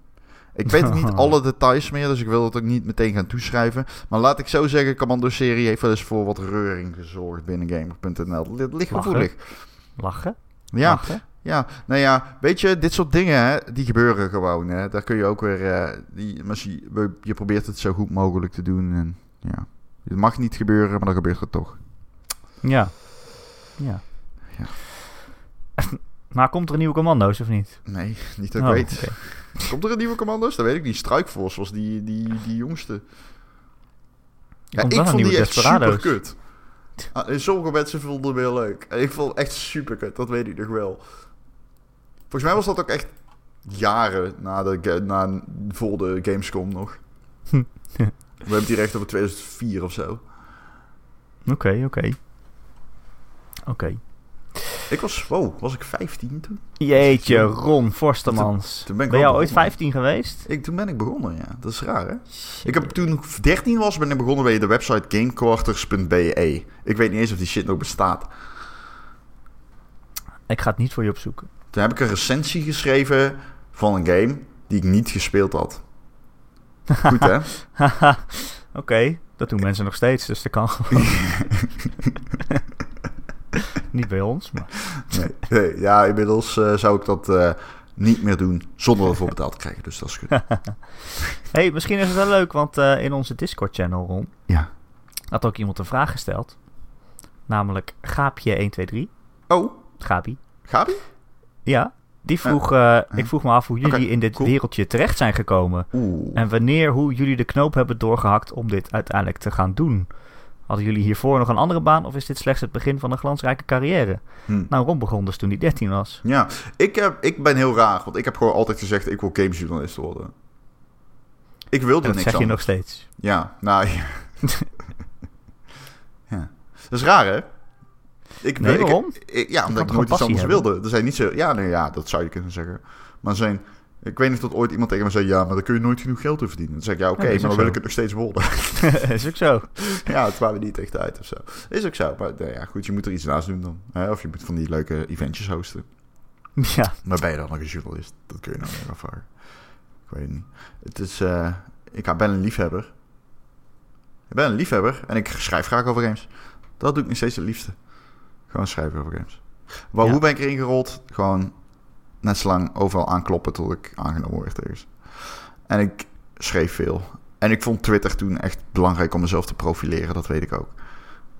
S2: Ik weet ook niet alle details meer, dus ik wil dat ook niet meteen gaan toeschrijven. Maar laat ik zo zeggen, Commando-serie heeft wel eens voor wat reuring gezorgd binnen Gamer.nl. Dit ligt
S1: Lachen.
S2: gevoelig.
S1: Lachen?
S2: Ja,
S1: Lachen?
S2: ja, nou ja, weet je, dit soort dingen, hè, die gebeuren gewoon. Hè. Daar kun je ook weer, eh, die, maar je, je probeert het zo goed mogelijk te doen. En, ja. Het mag niet gebeuren, maar dan gebeurt het toch.
S1: Ja. Ja.
S2: Ja.
S1: Maar komt er een nieuwe commando's of niet?
S2: Nee, niet dat ik
S1: Oh,
S2: weet.
S1: oké.
S2: Komt er een nieuwe commando's? Dat weet ik niet. Struikvos was die, die, die jongste.
S1: Er komt wel een nieuwe Desperado's.
S2: superkut. Ah, en sommige mensen vonden hem heel leuk. En ik vond hem echt super kut, dat weet ik nog wel. Volgens mij was dat ook echt jaren na de, ga- na, voor de Gamescom nog.
S1: Hm.
S2: We hebben het hier echt over 2004 of zo.
S1: Oké, oké. Oké.
S2: Ik was, wow, was ik 15 toen?
S1: Jeetje, Ron Forstemans.
S2: Toen ben ik
S1: Ben
S2: wel
S1: jij ooit
S2: begonnen.
S1: 15 geweest?
S2: Ik, toen ben ik begonnen, ja. Dat is raar, hè? Ik heb toen ik 13 was, ben ik begonnen bij de website gamequarters.be. Ik weet niet eens of die shit nog bestaat.
S1: Ik ga het niet voor je opzoeken.
S2: Toen heb ik een recensie geschreven van een game die ik niet gespeeld had. Goed, hè?
S1: Haha, Oké, dat doen mensen nog steeds, dus dat kan gewoon. Niet bij ons, maar.
S2: Nee. Nee, ja, inmiddels eh, zou ik dat eh, niet meer doen zonder ervoor betaald te krijgen. Dus dat is goed.
S1: hey, misschien is het wel leuk, want eh, in onze Discord-channel, Ron,
S2: Ja.
S1: had ook iemand een vraag gesteld. Namelijk Gaapje123.
S2: Oh,
S1: Gabi.
S2: Gabi?
S1: Ja, die vroeg, eh, ik vroeg me af hoe jullie
S2: Ah. Oké,
S1: in dit
S2: cool.
S1: wereldje terecht zijn gekomen.
S2: Oeh.
S1: En wanneer, hoe jullie de knoop hebben doorgehakt om dit uiteindelijk te gaan doen. Hadden jullie hiervoor nog een andere baan of is dit slechts het begin van een glansrijke carrière?
S2: Hm.
S1: Nou, Ron begon dus toen hij 13 was.
S2: Ja, ik, heb, ik ben heel raar, want ik heb gewoon altijd gezegd: ik wil gamesjournalist worden. Ik wilde
S1: En dat
S2: niks
S1: zeg je
S2: anders.
S1: nog steeds.
S2: Ja, nou ja. ja. Dat is raar, hè? Ik,
S1: Nee,
S2: ik-
S1: waarom?
S2: ik- ik- ja,
S1: kan
S2: omdat ik
S1: toch
S2: nooit iets
S1: gewoon passie
S2: anders wilde. Er zijn niet zo... Ja, nee, ja, dat zou je kunnen zeggen. Maar zijn... Ik weet niet of dat ooit iemand tegen me zei... Ja, maar dan kun je nooit genoeg geld te verdienen. Dan zeg ik, ja,
S1: Ja,
S2: oké,
S1: dat
S2: maar
S1: is
S2: dan
S1: ook
S2: wil
S1: zo.
S2: ik het nog steeds worden.
S1: is ook zo.
S2: ja, het kwam er niet echt uit of zo. Is ook zo. Maar nou ja, goed, je moet er iets naast doen dan. Hè? Of je moet van die leuke eventjes hosten.
S1: Ja,
S2: Maar ben je dan nog een journalist? Dat kun je nou weer afvragen. Ik weet het niet. Het is... eh, ik ben een liefhebber. Ik ben een liefhebber en ik schrijf graag over games. Dat doe ik nog steeds het liefste. Gewoon schrijven over games. Maar
S1: Ja.
S2: hoe ben ik erin gerold? Gewoon net zo lang overal aankloppen tot ik aangenomen werd ergens. En ik schreef veel. En ik vond Twitter toen echt belangrijk om mezelf te profileren. Dat weet ik ook.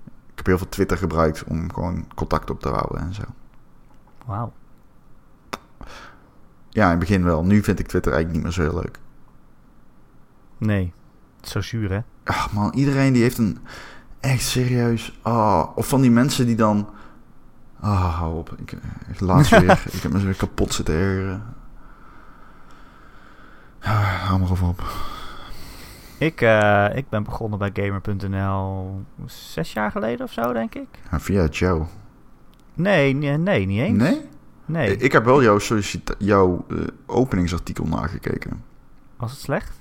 S2: Ik heb heel veel Twitter gebruikt om gewoon contact op te houden en zo.
S1: wauw.
S2: Ja, in het begin wel. Nu vind ik Twitter eigenlijk niet meer zo heel leuk.
S1: Nee, het is zo zuur, hè?
S2: Ach Ah, man, iedereen die heeft een... Echt serieus. ah of van die mensen die dan... Ah, hou op. Ik, ik laatst weer... ik heb me zo weer kapot zitten ergeren. Ah, hou maar even op.
S1: Ik, eh, ik ben begonnen bij Gamer.nl zes jaar geleden of zo, denk ik.
S2: Ja, via Joe.
S1: Nee, nee, nee niet eens.
S2: Nee? Eh,
S1: Nee.
S2: Ik heb wel jouw, sollicita- jouw eh, openingsartikel nagekeken.
S1: Was het slecht?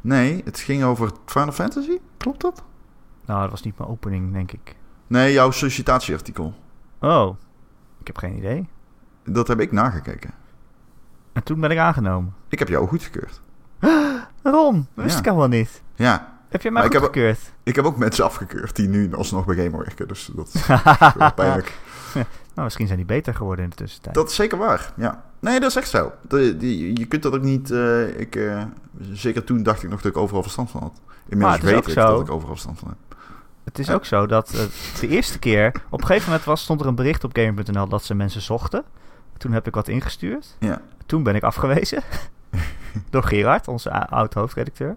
S2: Nee, het ging over Final Fantasy? Klopt dat?
S1: Nou, dat was niet mijn opening, denk ik.
S2: Nee, jouw sollicitatieartikel.
S1: Oh, ik heb geen idee.
S2: Dat heb ik nagekeken.
S1: En toen ben ik aangenomen.
S2: Ik heb jou goedgekeurd.
S1: Ron, dat wist
S2: Ja.
S1: ik helemaal niet.
S2: Ja,
S1: Heb je
S2: Maar
S1: mij
S2: ik heb-
S1: goedgekeurd?
S2: Ik heb ook mensen afgekeurd die nu alsnog bij Gamer werken. Dus dat is wel
S1: nou,
S2: pijnlijk.
S1: misschien zijn die beter geworden in de tussentijd.
S2: Dat is zeker waar, ja. Nee, dat is echt zo. De, die, je kunt dat ook niet... eh, ik, eh, zeker toen dacht ik nog dat ik overal verstand van had.
S1: Maar
S2: Inmiddels
S1: het is
S2: weet
S1: ook
S2: ik
S1: zo.
S2: dat ik overal verstand van heb.
S1: Het is
S2: Ja.
S1: ook zo dat eh, de eerste keer, op een gegeven moment was, stond er een bericht op Gamer.nl dat ze mensen zochten. Toen heb ik wat ingestuurd.
S2: Ja.
S1: Toen ben ik afgewezen door Gerard, onze a- oud-hoofdredacteur.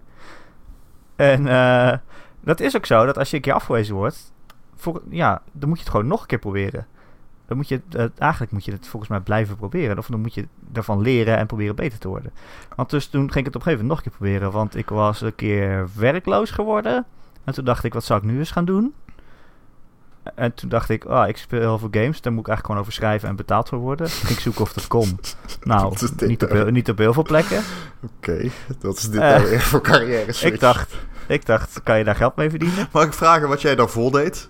S1: En eh, dat is ook zo dat als je een keer afgewezen wordt, voor, ja, dan moet je het gewoon nog een keer proberen. Dan moet je, het- eh, eigenlijk moet je het volgens mij blijven proberen. Of dan moet je daarvan leren en proberen beter te worden. Want dus toen ging ik het op een gegeven moment nog een keer proberen. Want ik was een keer werkloos geworden. En toen dacht ik, wat zou ik nu eens gaan doen? En toen dacht ik, ah, ik speel heel veel games. Daar moet ik eigenlijk gewoon over schrijven en betaald voor worden. Toen ging ik zoeken of dat kon. Nou,
S2: Dat is dit
S1: niet op,
S2: nou.
S1: heel- niet op heel veel plekken.
S2: Oké, dat is dit
S1: Eh,
S2: nou weer voor carrière switch.
S1: Ik dacht, ik dacht, kan je daar geld mee verdienen?
S2: Mag ik vragen wat jij daarvoor deed?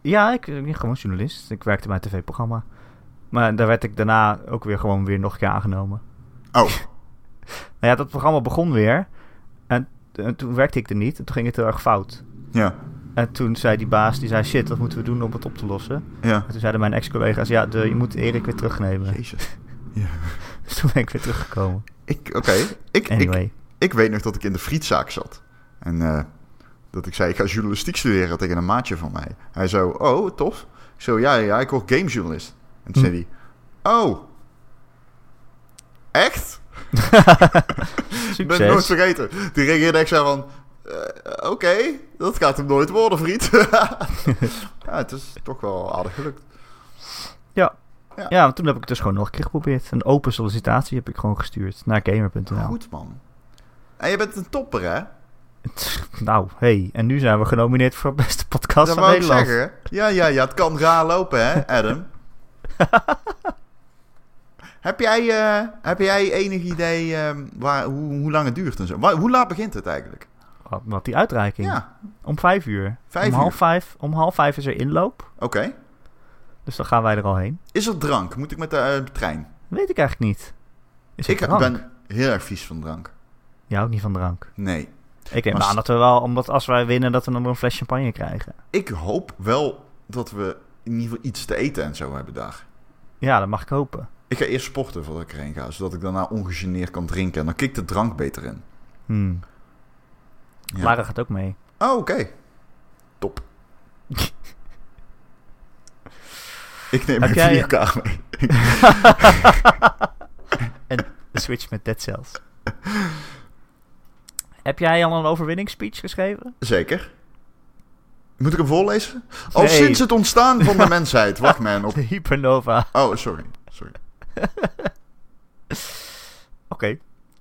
S1: Ja, ik ben gewoon journalist. Ik werkte bij een tv-programma. Maar daar werd ik daarna ook weer gewoon weer nog een keer aangenomen.
S2: Oh,
S1: Nou ja, dat programma begon weer. En, en toen werkte ik er niet. En toen ging het heel erg fout.
S2: ja.
S1: En toen zei die baas, die zei, shit, wat moeten we doen om het op te lossen?
S2: Ja.
S1: En toen zeiden mijn ex-collega's, ja, de, je moet Erik weer terugnemen.
S2: Jezus. Ja.
S1: Dus toen ben ik weer teruggekomen.
S2: Ik, oké. Ik, ik,
S1: Anyway.
S2: Ik weet nog dat ik in de frietzaak zat. En eh, dat ik zei, ik ga journalistiek studeren tegen een maatje van mij. Hij zo, oh, tof. Ik zo, ja, ja, ik word gamejournalist. En toen
S1: Hm.
S2: zei hij, Oh. Echt? Ik ben het nooit
S1: Succes.
S2: vergeten. Die reageerde ik zo van... eh, Oké, dat gaat hem nooit worden, vriend. ja, het is toch wel aardig gelukt.
S1: Ja, want toen heb ik het dus gewoon nog een keer geprobeerd. Een open sollicitatie heb ik gewoon gestuurd naar gamer.nl.
S2: Goed, man. En je bent een topper, hè?
S1: Nou, hey, en nu zijn we genomineerd voor beste podcast
S2: dat
S1: van
S2: wou ik
S1: Nederland.
S2: zeggen. Ja, ja, ja. Het kan raar lopen, hè, Adam? heb, jij, eh, heb jij enig idee ehm, waar, hoe, hoe lang het duurt en zo? Wa- hoe laat begint het eigenlijk?
S1: Wat, wat die uitreiking.
S2: Ja,
S1: Om vijf uur.
S2: Vijf
S1: om,
S2: uur.
S1: Half vijf, om half vijf is er inloop.
S2: oké.
S1: Dus dan gaan wij er al heen.
S2: Is er drank? Moet ik met de eh, trein?
S1: Weet ik eigenlijk niet. Is er
S2: ik eh,
S1: drank?
S2: ben heel erg vies van drank.
S1: Jij houdt niet van drank.
S2: Nee.
S1: Ik neem
S2: Maar
S1: aan
S2: s-
S1: dat we wel, omdat als wij winnen, dat we dan nog een fles champagne krijgen.
S2: Ik hoop wel dat we in ieder geval iets te eten en zo hebben daar.
S1: Ja, dat mag ik hopen.
S2: Ik ga eerst sporten voordat ik erheen ga, zodat ik daarna ongegeneerd kan drinken. En dan kikt de drank beter in.
S1: Hmm.
S2: Ja.
S1: Lara gaat ook mee.
S2: Oh, oké. Top. ik neem
S1: Heb
S2: mijn
S1: jij-
S2: videokaart mee.
S1: en de switch met Dead Cells. Heb jij al een overwinningsspeech geschreven?
S2: Zeker. Moet ik hem voorlezen? Al
S1: Nee.
S2: sinds het ontstaan van de mensheid. Wacht, man. Op...
S1: De Hypernova.
S2: Oh, sorry. sorry.
S1: Oké.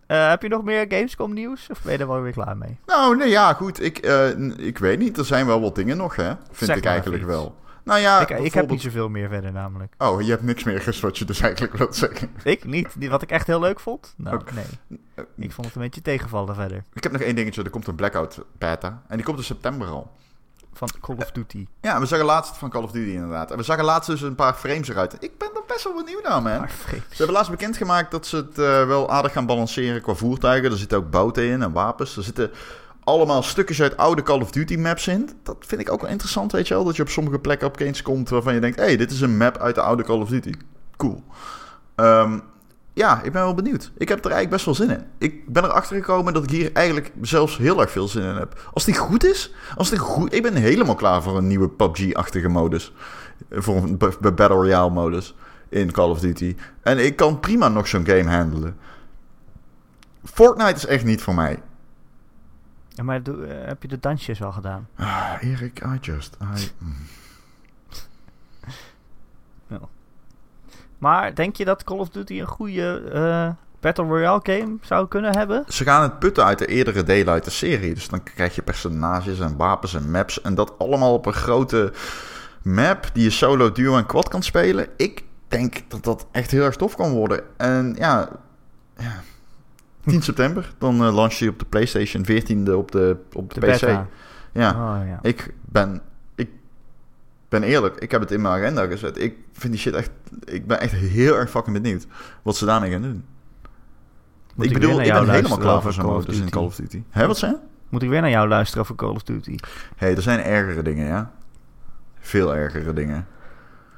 S1: Eh, heb je nog meer Gamescom nieuws? Of ben je er wel weer klaar mee?
S2: Nou, nee, ja, goed. Ik, eh, n- ik weet niet. Er zijn wel wat dingen nog, hè? Vind
S1: Zeg
S2: ik
S1: maar
S2: eigenlijk
S1: even iets.
S2: wel. Nou ja,
S1: ik, ik heb
S2: bijvoorbeeld-
S1: niet zoveel meer verder namelijk.
S2: Oh, je hebt niks meer gist wat je dus eigenlijk wilt zeggen.
S1: Ik niet. Die- Wat ik echt heel leuk vond? Nou,
S2: Oké.
S1: nee.
S2: Eh,
S1: Ik vond het een beetje tegenvallen verder.
S2: Ik heb nog één dingetje. Er komt een Blackout beta. En die komt in september al.
S1: Van Call of Duty.
S2: Ja, we zagen laatst van Call of Duty inderdaad. En we zagen laatst dus een paar frames eruit. Ik ben er best wel benieuwd naar, man.
S1: Maar vreemd.
S2: Ze hebben laatst bekendgemaakt dat ze het eh, wel aardig gaan balanceren qua voertuigen. Er zitten ook bouten in en wapens. Er zitten allemaal stukjes uit oude Call of Duty maps in. Dat vind ik ook wel interessant, weet je wel. Dat je op sommige plekken op games komt waarvan je denkt... hé, hey, dit is een map uit de oude Call of Duty. Cool. Ehm, ja, ik ben wel benieuwd. Ik heb er eigenlijk best wel zin in. Ik ben erachter gekomen dat ik hier eigenlijk zelfs heel erg veel zin in heb. Als die goed is, als die goed... Ik ben helemaal klaar voor een nieuwe PUBG-achtige modus. Eh, Voor een b- b- Battle Royale-modus in Call of Duty. En ik kan prima nog zo'n game handelen. Fortnite is echt niet voor mij.
S1: Ja, maar doe- eh, heb je de dansjes al gedaan?
S2: Ah, Erik, I just... I...
S1: Maar denk je dat Call of Duty een goede eh, Battle Royale game zou kunnen hebben?
S2: Ze gaan het putten uit de eerdere delen uit de serie. Dus dan krijg je personages en wapens en maps. En dat allemaal op een grote map die je solo, duo en quad kan spelen. Ik denk dat dat echt heel erg tof kan worden. En ja, ja. 10 september. Dan eh launch je op de PlayStation 14e op de, op
S1: De
S2: de, PC.
S1: beta.
S2: Ja.
S1: Oh, ja.
S2: Ik ben, ik ben eerlijk, ik heb het in mijn agenda gezet. Ik vind die shit echt, ik ben echt heel erg fucking benieuwd wat ze daarmee gaan doen.
S1: Moet
S2: ik
S1: weer
S2: bedoel,
S1: naar
S2: ik ben
S1: jou
S2: helemaal
S1: luisteren
S2: klaar
S1: over
S2: voor zo'n
S1: Call of
S2: modus in
S1: Duty?
S2: Call of Duty. Hé, wat zijn?
S1: Moet ik weer naar jou luisteren over Call of Duty?
S2: Hé, er zijn ergere dingen, ja. Veel ergere dingen.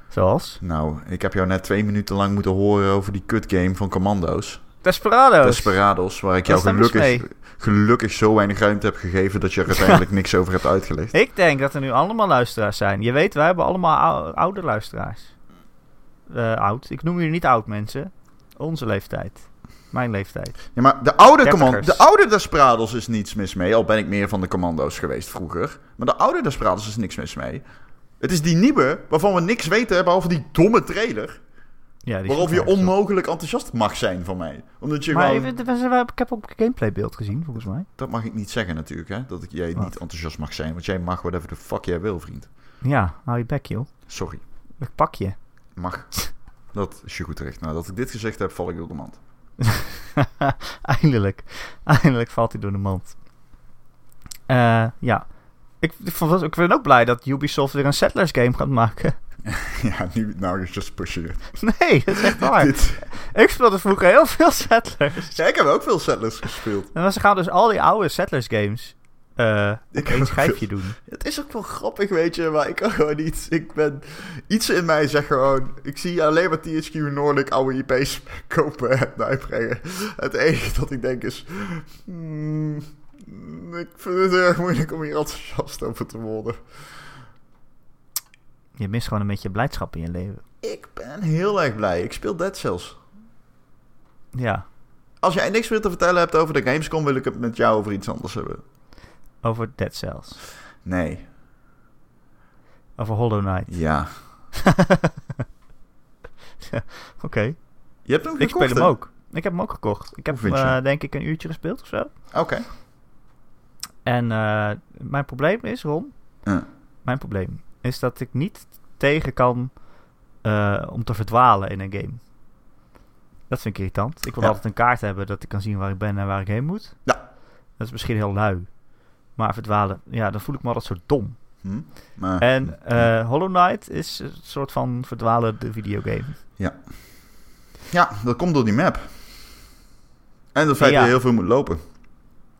S1: Zoals?
S2: Nou, ik heb jou net twee minuten lang moeten horen over die kut game van Commando's.
S1: Desperado's.
S2: Desperados, waar ik
S1: Wat
S2: jou
S1: is daar mis
S2: gelukkig, gelukkig zo weinig ruimte heb gegeven dat je er uiteindelijk niks over hebt uitgelegd.
S1: Ik denk dat er nu allemaal luisteraars zijn. Je weet, wij hebben allemaal ou- oude luisteraars. Eh, oud. Ik noem jullie niet oud mensen. Onze leeftijd. Mijn leeftijd.
S2: Ja, maar de oude,
S1: Dertigers.
S2: command, de oude Desperados is niets mis mee. Al ben ik meer van de commando's geweest vroeger. Maar de oude Desperados is niks mis mee. Het is die nieuwe waarvan we niks weten, behalve die domme trailer.
S1: Ja, die is
S2: Waarover je
S1: goed.
S2: onmogelijk enthousiast mag zijn van mij. Omdat je
S1: Maar
S2: gewoon...
S1: even- we zijn- ik heb ook een gameplaybeeld gezien, volgens mij.
S2: Dat mag ik niet zeggen natuurlijk, hè. Dat ik, jij
S1: Wat?
S2: niet enthousiast mag zijn. Want jij mag whatever the fuck jij wil, vriend.
S1: Ja, hou je bek, joh.
S2: Sorry.
S1: Ik pak je.
S2: Mag. Dat is je goed recht. Nadat ik dit gezegd heb, val ik door de mand.
S1: Eindelijk. Eindelijk valt hij door de mand. Eh, ja. Ik, ik, vond- ik ben ook blij dat Ubisoft weer een Settlers game gaat maken.
S2: ja, nu, nou is just pushing it.
S1: Nee, dat is echt waar.
S2: Dit-
S1: Ik speelde vroeger heel veel Settlers.
S2: Ja, ik heb ook veel Settlers gespeeld.
S1: En dan ze gaan dus al die oude Settlers games eh op
S2: Ik
S1: één
S2: ook.
S1: schijfje doen.
S2: Het is ook wel grappig, weet je, maar ik kan gewoon niet. Ik ben. Iets in mij zegt gewoon. Ik zie alleen maar THQ Noordelijk oude IP's kopen en uitbrengen. Het enige dat ik denk is. hmm, ik vind het heel erg moeilijk om hier enthousiast over te worden.
S1: Je mist gewoon een beetje blijdschap in je leven.
S2: Ik ben ben heel erg blij. Ik speel Dead Cells.
S1: Ja,
S2: Als jij niks meer te vertellen hebt over de Gamescom, wil ik het met jou over iets anders hebben.
S1: over Dead Cells.
S2: Nee.
S1: Over Hollow Knight.
S2: Ja.
S1: Oké,
S2: Je hebt hem
S1: ik speel
S2: gekocht,
S1: hem
S2: hè?
S1: ook. Ik heb hem ook gekocht. Ik heb
S2: Hoe vind
S1: hem,
S2: je
S1: eh,
S2: hem?
S1: denk ik een uurtje gespeeld of zo.
S2: Oké.
S1: En eh, mijn probleem is, Ron,
S2: Ja.
S1: mijn probleem is dat ik niet tegen kan eh, om te verdwalen in een game. Dat vind ik irritant. Ik wil
S2: Ja.
S1: altijd een kaart hebben dat ik kan zien waar ik ben en waar ik heen moet.
S2: Ja.
S1: Dat is misschien heel lui. Maar verdwalen, ja, dan voel ik me altijd zo dom.
S2: Hm? Maar,
S1: En eh, Hollow Knight is een soort van verdwalen de videogame.
S2: Ja, dat komt door die map. En het feit
S1: Ja.
S2: dat je heel veel moet lopen.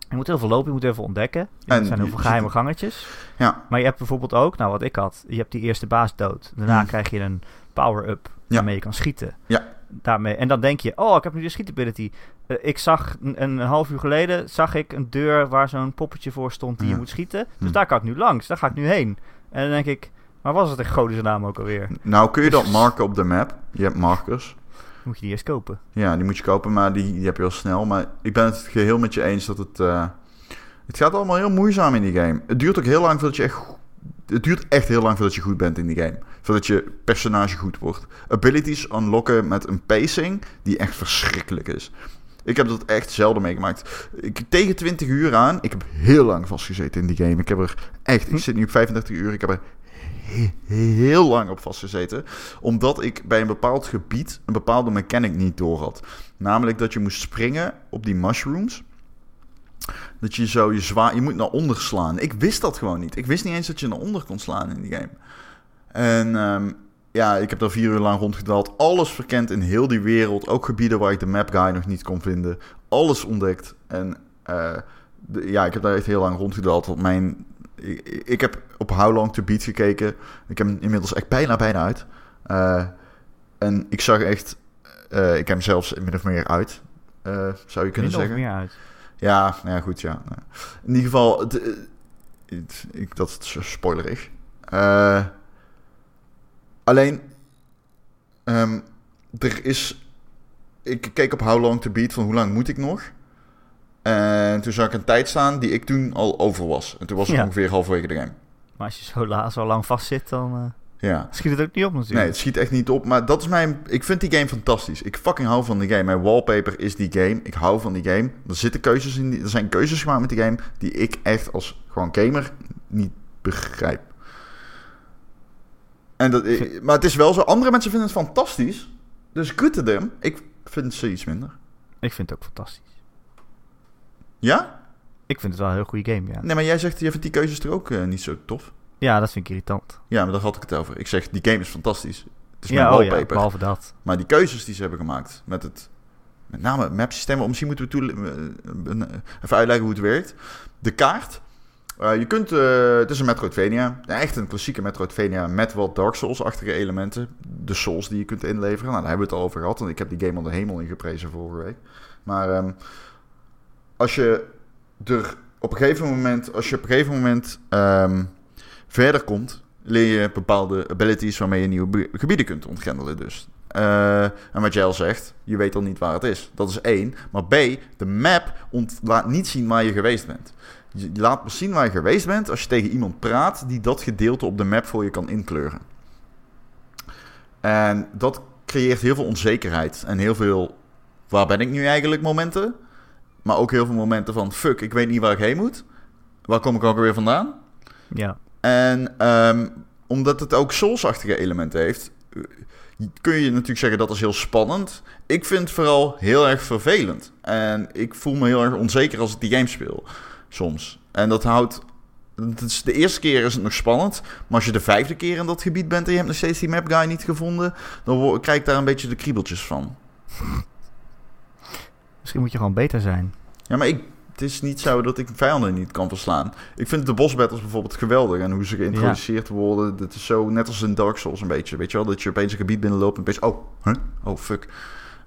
S1: Je moet heel veel lopen, je moet heel veel ontdekken.
S2: En
S1: er zijn heel
S2: je
S1: veel
S2: ziet
S1: geheime
S2: het-
S1: gangetjes.
S2: Ja.
S1: Maar je hebt bijvoorbeeld ook, nou wat ik had, je hebt die eerste baas dood. Daarna
S2: Hmm.
S1: krijg je een power-up
S2: Ja.
S1: waarmee je kan schieten.
S2: Ja.
S1: Daarmee, en dan denk je, oh, ik heb nu de schietability. Eh, ik zag een, een half uur geleden zag ik een deur waar zo'n poppetje voor stond die
S2: Ja.
S1: je moet schieten. Dus
S2: Hmm.
S1: daar kan ik nu langs, daar ga ik nu heen. En dan denk ik, maar was het een godische naam ook alweer?
S2: Nou kun je dat marken op de map. Je hebt markers.
S1: Moet je die eerst kopen.
S2: Ja, die moet je kopen, maar die, die heb je wel snel. Maar ik ben het geheel met je eens dat het... eh, het gaat allemaal heel moeizaam in die game. Het duurt ook heel lang voordat je echt... go- Het duurt echt heel lang voordat je goed bent in die game. Voordat je personage goed wordt. Abilities unlocken met een pacing die echt verschrikkelijk is. Ik heb dat echt zelden meegemaakt. Ik, tegen 20 uur aan, ik heb heel lang vastgezeten in die game. Ik heb er echt, ik zit nu op 35 uur, ik heb er he- heel lang op vastgezeten. Omdat ik bij een bepaald gebied een bepaalde mechanic niet door had. Namelijk dat je moest springen op die mushrooms. Dat je zo je zwaar, je moet naar onder slaan. Ik wist dat gewoon niet. Ik wist niet eens dat je naar onder kon slaan in die game. En ehm, ja, ik heb daar vier uur lang rondgedwaald. Alles verkend in heel die wereld. Ook gebieden waar ik de map guy nog niet kon vinden. Alles ontdekt. En eh, de- ja, ik heb daar echt heel lang rondgedwaald. Want mijn, ik, ik heb op How Long to Beat gekeken. Ik heb hem inmiddels echt bijna, bijna uit. Eh, en ik zag echt... eh, ik heb hem zelfs min of meer uit. eh, zou je kunnen
S1: Minder of
S2: zeggen.
S1: meer uit.
S2: Ja, nou ja, goed, ja. Nou, In ieder geval, het, eh, het- ik, dat is spoilerig. Eh, alleen, ehm, er is... Ik keek op How Long To Beat, van hoe lang moet ik nog? En toen zag ik een tijd staan die ik toen al over was. En toen was ik
S1: Ja.
S2: ongeveer halverwege de game.
S1: Maar als je zo, la, zo lang vast zit, dan eh,
S2: Ja.
S1: schiet het ook niet op natuurlijk.
S2: Nee, het schiet echt niet op. Maar dat is mijn. Ik vind die game fantastisch. Ik fucking hou van die game. Mijn wallpaper is die game. Ik hou van die game. Er zitten keuzes in. Die, er zijn keuzes gemaakt met die game die ik echt als gewoon gamer niet begrijp. En dat, eh, maar het is wel zo. Andere mensen vinden het fantastisch. Dus good to them. Ik vind ze iets minder.
S1: Ik vind het ook fantastisch.
S2: Ja?
S1: Ik vind het wel een heel goede game, ja.
S2: Nee, maar jij zegt, je vindt die keuzes er ook eh, niet zo tof.
S1: Ja, dat vind ik irritant.
S2: Ja, maar daar had ik het over. Ik zeg, die game is fantastisch. Het is mijn
S1: ja, oh ja,
S2: wallpaper.
S1: behalve dat.
S2: Maar die keuzes die ze hebben gemaakt met het. Met name het mapsysteem. want Misschien moeten we toele- eh, eh, eh, even uitleggen hoe het werkt. De kaart. Eh, je kunt, eh, het is een Metroidvania. Ja, echt een klassieke Metroidvania met wat Dark Souls-achtige elementen. De souls die je kunt inleveren. Nou, daar hebben we het al over gehad. En ik heb die game al de hemel in geprezen vorige week. Maar ehm, als je er op een gegeven moment, als je op een gegeven moment ehm, verder komt, leer je bepaalde abilities waarmee je nieuwe be- gebieden kunt ontgrendelen. Dus. Eh, en wat jij al zegt, je weet al niet waar het is. Dat is één. Maar B, de map ont- laat niet zien waar je geweest bent. Je je laat pas zien waar je geweest bent als je tegen iemand praat die dat gedeelte op de map voor je kan inkleuren. En dat creëert heel veel onzekerheid en heel veel waar ben ik nu eigenlijk momenten. Maar ook heel veel momenten van fuck, ik weet niet waar ik heen moet. Waar kom ik ook weer vandaan?
S1: Ja,
S2: En ehm, omdat het ook Souls-achtige elementen heeft, eh, kun je natuurlijk zeggen dat is heel spannend. Ik vind het vooral heel erg vervelend. En ik voel me heel erg onzeker als ik die game speel, soms. En dat houdt... dat is- De eerste keer is het nog spannend, maar als je de vijfde keer in dat gebied bent en je hebt nog steeds die map guy niet gevonden, dan wo- krijg ik daar een beetje de kriebeltjes van.
S1: misschien moet je gewoon beter zijn.
S2: Ja, maar ik, het is niet zo dat ik vijanden niet kan verslaan. Ik vind de boss battles bijvoorbeeld geweldig. En hoe ze geïntroduceerd worden. Dat is zo net als in Dark Souls een beetje. Weet je wel, dat je opeens een gebied binnenloopt en opeens... Oh, huh? oh fuck.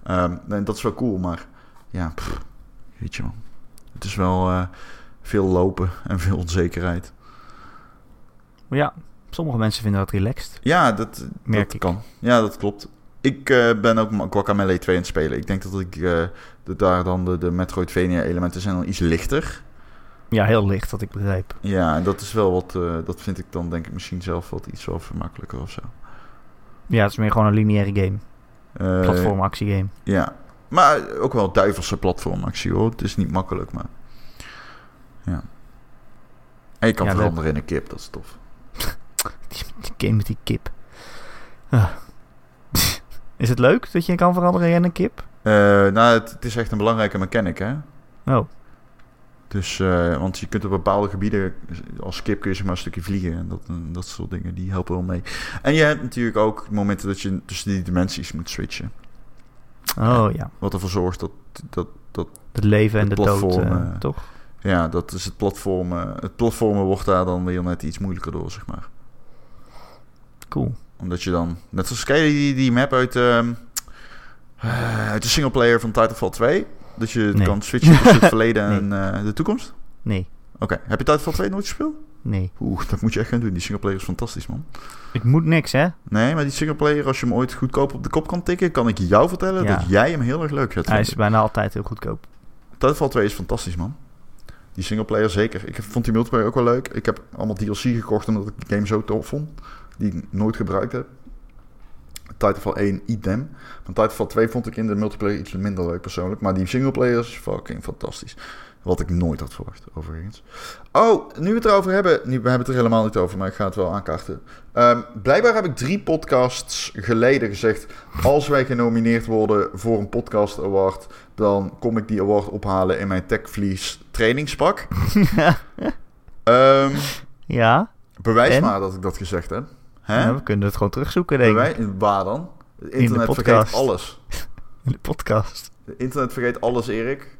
S2: Ehm, nee, dat is wel cool, maar... Ja, pff, weet je wel. Het is wel eh, veel lopen en veel onzekerheid.
S1: Maar ja, sommige mensen vinden dat relaxed.
S2: Ja, dat,
S1: Merk
S2: dat
S1: ik.
S2: kan. Ja, dat klopt. Ik eh, ben ook Guacamele 2 aan het spelen. Ik denk dat ik eh, dat daar dan de, de Metroidvania-elementen zijn dan iets lichter.
S1: Ja, heel licht, wat ik begreep.
S2: Ja, en dat is wel wat. eh, dat vind ik dan denk ik misschien zelf wat iets wel vermakkelijker of zo.
S1: Ja, het is meer gewoon een lineaire game.
S2: Eh,
S1: Platformactiegame.
S2: Ja. Maar ook wel duivelse platformactie hoor. Het is niet makkelijk, maar. Ja. En je kan
S1: Ja, leuk.
S2: veranderen in een kip, dat is tof.
S1: Die game met die kip. Ah. Is het leuk dat je kan veranderen in een kip?
S2: Eh, nou, het, het is echt een belangrijke mechanic, hè?
S1: Oh,
S2: Dus, eh, want je kunt op bepaalde gebieden, als kip kun je zeg maar een stukje vliegen en dat, en dat soort dingen, die helpen wel mee. En je hebt natuurlijk ook momenten dat je tussen die dimensies moet switchen.
S1: oh ja.
S2: Wat ervoor zorgt dat, dat
S1: Het leven en de,
S2: Het
S1: dood,
S2: platform,
S1: eh,
S2: eh,
S1: toch?
S2: ja, dat is het platformen, het platformen wordt daar dan weer net iets moeilijker door, zeg maar.
S1: Cool.
S2: Omdat je dan, net zoals ken je die, die map uit, ehm, eh, uit de singleplayer van Titanfall 2, dat je
S1: Nee.
S2: kan switchen tussen het verleden
S1: Nee.
S2: en eh, de toekomst.
S1: Nee,
S2: Oké, heb je Titanfall 2 nooit gespeeld?
S1: nee.
S2: Oeh, dat moet je echt gaan doen, die singleplayer is fantastisch man.
S1: Ik moet niks, hè?
S2: Nee, maar die singleplayer, als je hem ooit goedkoop op de kop kan tikken, kan ik jou vertellen
S1: Ja.
S2: dat jij hem heel erg leuk gaat
S1: Hij
S2: vinden.
S1: is bijna altijd heel goedkoop.
S2: Titanfall 2 is fantastisch, man. Die singleplayer zeker. Ik vond die multiplayer ook wel leuk. Ik heb allemaal DLC gekocht omdat ik die game zo tof vond. Die ik nooit gebruikt heb. Titanfall 1, idem. Van Titanfall 2 vond ik in de multiplayer iets minder leuk persoonlijk. Maar die singleplayer is fucking fantastisch. Wat ik nooit had verwacht, overigens. Oh, nu we het erover hebben. Nu, we hebben het er helemaal niet over, maar ik ga het wel aankaarten. Ehm, blijkbaar heb ik drie podcasts geleden gezegd... als wij genomineerd worden voor een podcast award... dan kom ik die award ophalen in mijn TechVlies trainingspak. Ehm,
S1: ja?
S2: bewijs
S1: En?
S2: maar dat ik dat gezegd heb. Hè?
S1: ja, we kunnen het gewoon terugzoeken, denk ik.
S2: Bewij- waar dan? Het
S1: de
S2: internet vergeet
S1: podcast.
S2: alles.
S1: In de podcast.
S2: Het internet vergeet alles, Erik.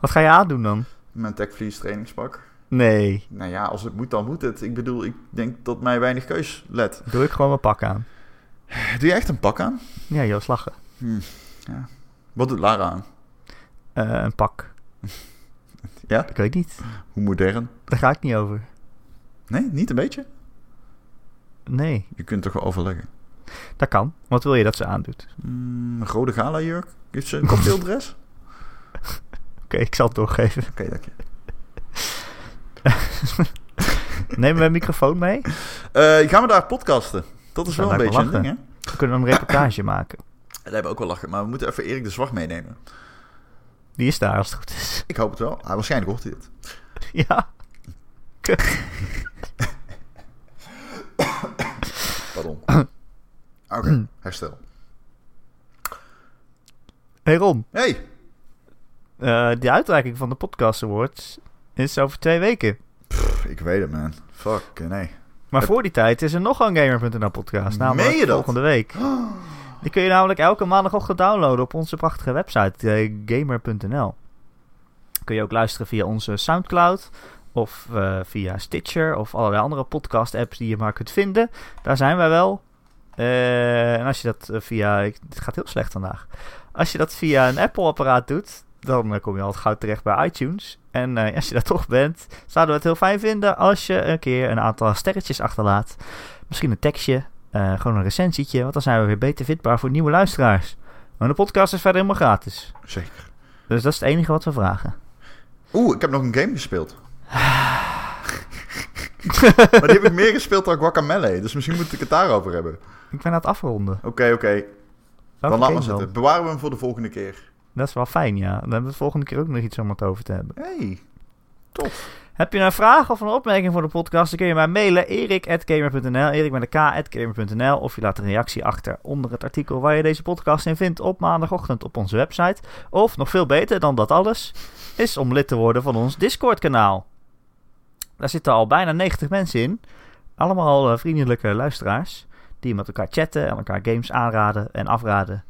S1: Wat ga je aandoen dan?
S2: Mijn TechVlies trainingspak.
S1: Nee,
S2: Nou ja, als het moet, dan moet het. Ik bedoel, ik denk dat mij weinig keus let.
S1: doe ik gewoon mijn pak aan.
S2: Doe je echt een pak aan?
S1: Ja, Joost lachen.
S2: Hmm, Wat doet Lara aan?
S1: Eh, een pak.
S2: Ja?
S1: Ik weet niet.
S2: Hoe modern?
S1: Daar ga ik niet over.
S2: Nee, niet een beetje?
S1: Nee,
S2: Je kunt toch wel overleggen.
S1: dat kan. Wat wil je dat ze aandoet?
S2: Mm, een rode gala jurk? Heeft ze een cocktaildress? Oké,
S1: Oké, ik zal het doorgeven.
S2: dank je.
S1: Neem mijn microfoon mee.
S2: Eh, gaan we daar podcasten? Dat is
S1: Nou,
S2: wel een
S1: lijkt
S2: beetje
S1: me
S2: een ding, hè?
S1: We kunnen een reportage maken.
S2: Dat hebben we ook wel lachen, maar we moeten even Erik de Zwart meenemen.
S1: Die is daar als het goed is.
S2: Ik hoop het wel. Ah, waarschijnlijk hoort hij het.
S1: ja.
S2: Pardon. Oké, herstel.
S1: Hey Ron,
S2: Hey!
S1: eh, de uitreiking van de Podcast Awards is over twee weken.
S2: Pff, ik weet het, man. Fuck, eh, nee.
S1: Maar voor die tijd is er nog een Gamer.nl podcast. Namelijk
S2: Meen je dat?
S1: volgende week. Die kun je namelijk elke maandagochtend downloaden op onze prachtige website eh, gamer.nl. Kun je ook luisteren via onze Soundcloud of eh, via Stitcher of allerlei andere podcast apps die je maar kunt vinden. Daar zijn wij wel. Eh, en als je dat eh, via... ik- Het gaat heel slecht vandaag. Als je dat via een Apple-apparaat doet, dan eh, kom je al gauw terecht bij iTunes. En eh, als je daar toch bent, zouden we het heel fijn vinden als je een keer een aantal sterretjes achterlaat. Misschien een tekstje, eh, gewoon een recensietje, want dan zijn we weer beter vindbaar voor nieuwe luisteraars. Maar de podcast is verder helemaal gratis.
S2: Zeker.
S1: Dus dat is het enige wat we vragen.
S2: Oeh, ik heb nog een game gespeeld. maar die heb ik meer gespeeld dan Guacamele, dus misschien moet ik het daarover hebben. Oké,
S1: Ik ben aan het afronden.
S2: oké.
S1: Welke
S2: Dan laat maar
S1: game dan?
S2: zitten. Bewaren we hem voor de volgende keer.
S1: Dat is wel fijn, ja. Dan hebben we de volgende keer ook nog iets om het over te hebben.
S2: Hey, tof.
S1: Heb je nou een vraag of een opmerking voor de podcast? Dan kun je mij mailen erik.gamer.nl, erik met een k.gamer.nl of je laat een reactie achter onder het artikel waar je deze podcast in vindt op maandagochtend op onze website. Of nog veel beter dan dat alles, is om lid te worden van ons Discord kanaal. Daar zitten al bijna 90 mensen in. Allemaal eh, vriendelijke luisteraars die met elkaar chatten en elkaar games aanraden en afraden.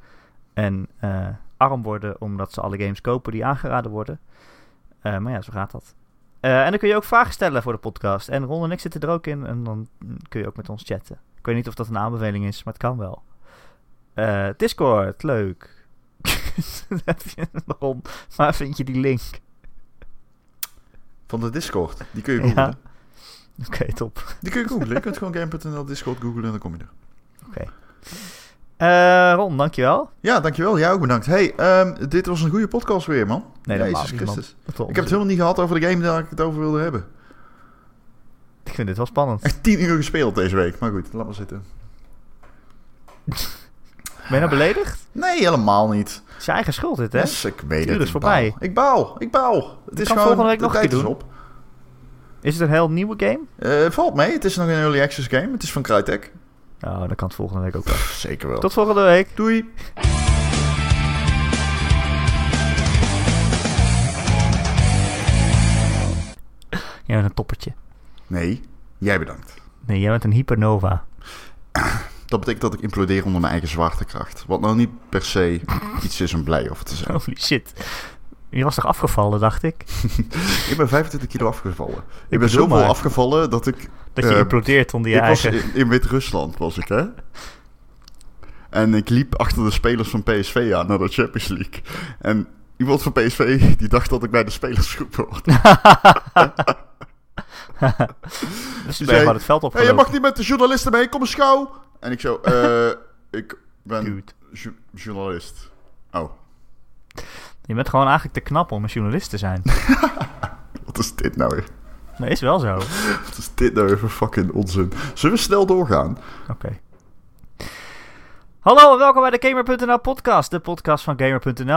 S1: En eh, arm worden omdat ze alle games kopen die aangeraden worden. Eh, maar ja, zo gaat dat. Eh, en dan kun je ook vragen stellen voor de podcast. En Ron en ik zitten er ook in. En dan mm, kun je ook met ons chatten. Ik weet niet of dat een aanbeveling is, maar het kan wel. Eh, Discord, leuk. Dan heb je een Ron, waar vind je die link?
S2: Van de Discord. Die kun je
S1: Ja.
S2: googlen.
S1: Oké, top.
S2: Die kun je googlen. Je kunt gewoon game.nl Discord googlen en dan kom je er.
S1: Eh, Ron, dankjewel.
S2: Ja, dankjewel. Jij ook bedankt. Hey, ehm, dit was een goede podcast weer, man.
S1: Nee, dat
S2: Jezus
S1: mag niet, man.
S2: Christus.
S1: Dat was
S2: Ik heb het helemaal niet gehad over de game waar ik het over wilde hebben.
S1: Ik vind dit wel spannend.
S2: Echt tien uur gespeeld deze week. Maar goed, laat maar zitten.
S1: Ben je nou beledigd?
S2: Nee, helemaal niet.
S1: Het is je eigen schuld dit, hè?
S2: Dus ik weet
S1: uur
S2: het.
S1: is
S2: ik
S1: voorbij.
S2: baal. Ik baal. Ik baal. Het is
S1: kan
S2: gewoon...
S1: volgende week
S2: de
S1: nog een
S2: tijd
S1: keer
S2: is
S1: doen.
S2: op.
S1: Is het een heel nieuwe game?
S2: Eh, valt mee. Het is nog een early access game. Het is van Crytek.
S1: Nou, dan kan het volgende week ook wel.
S2: Pff, zeker wel.
S1: Tot volgende week.
S2: Doei.
S1: Jij bent een toppertje.
S2: Nee, jij bedankt.
S1: Nee, jij bent een hypernova.
S2: Dat betekent dat ik implodeer onder mijn eigen zwaartekracht. Wat nou niet per se iets is om blij over te zijn.
S1: Holy shit. Je was toch afgevallen, dacht ik?
S2: Ik ben 25 kilo afgevallen. Ik,
S1: bedoel
S2: ben zoveel
S1: maar.
S2: afgevallen dat ik...
S1: Dat je
S2: Eh,
S1: implodeert onder je
S2: ik was
S1: eigen...
S2: in, in Wit-Rusland was ik, hè? En ik liep achter de spelers van PSV aan naar de Champions League. En iemand van PSV die dacht dat ik bij de spelersgroep hoorde.
S1: dus je
S2: zei-
S1: bent gewoon het veld
S2: Hé, je
S1: opgelopen.
S2: mag niet met de journalisten mee, kom eens gauw. En ik zo, eh, ik ben
S1: Dude,
S2: ju- journalist. Oh,
S1: je bent gewoon eigenlijk te knap om een journalist te zijn.
S2: wat is dit nou weer?
S1: Nee, is wel zo.
S2: Wat is dit nou weer voor fucking onzin? Zullen we snel doorgaan?
S1: Oké. Hallo en welkom bij de Gamer.nl podcast, de podcast van Gamer.nl.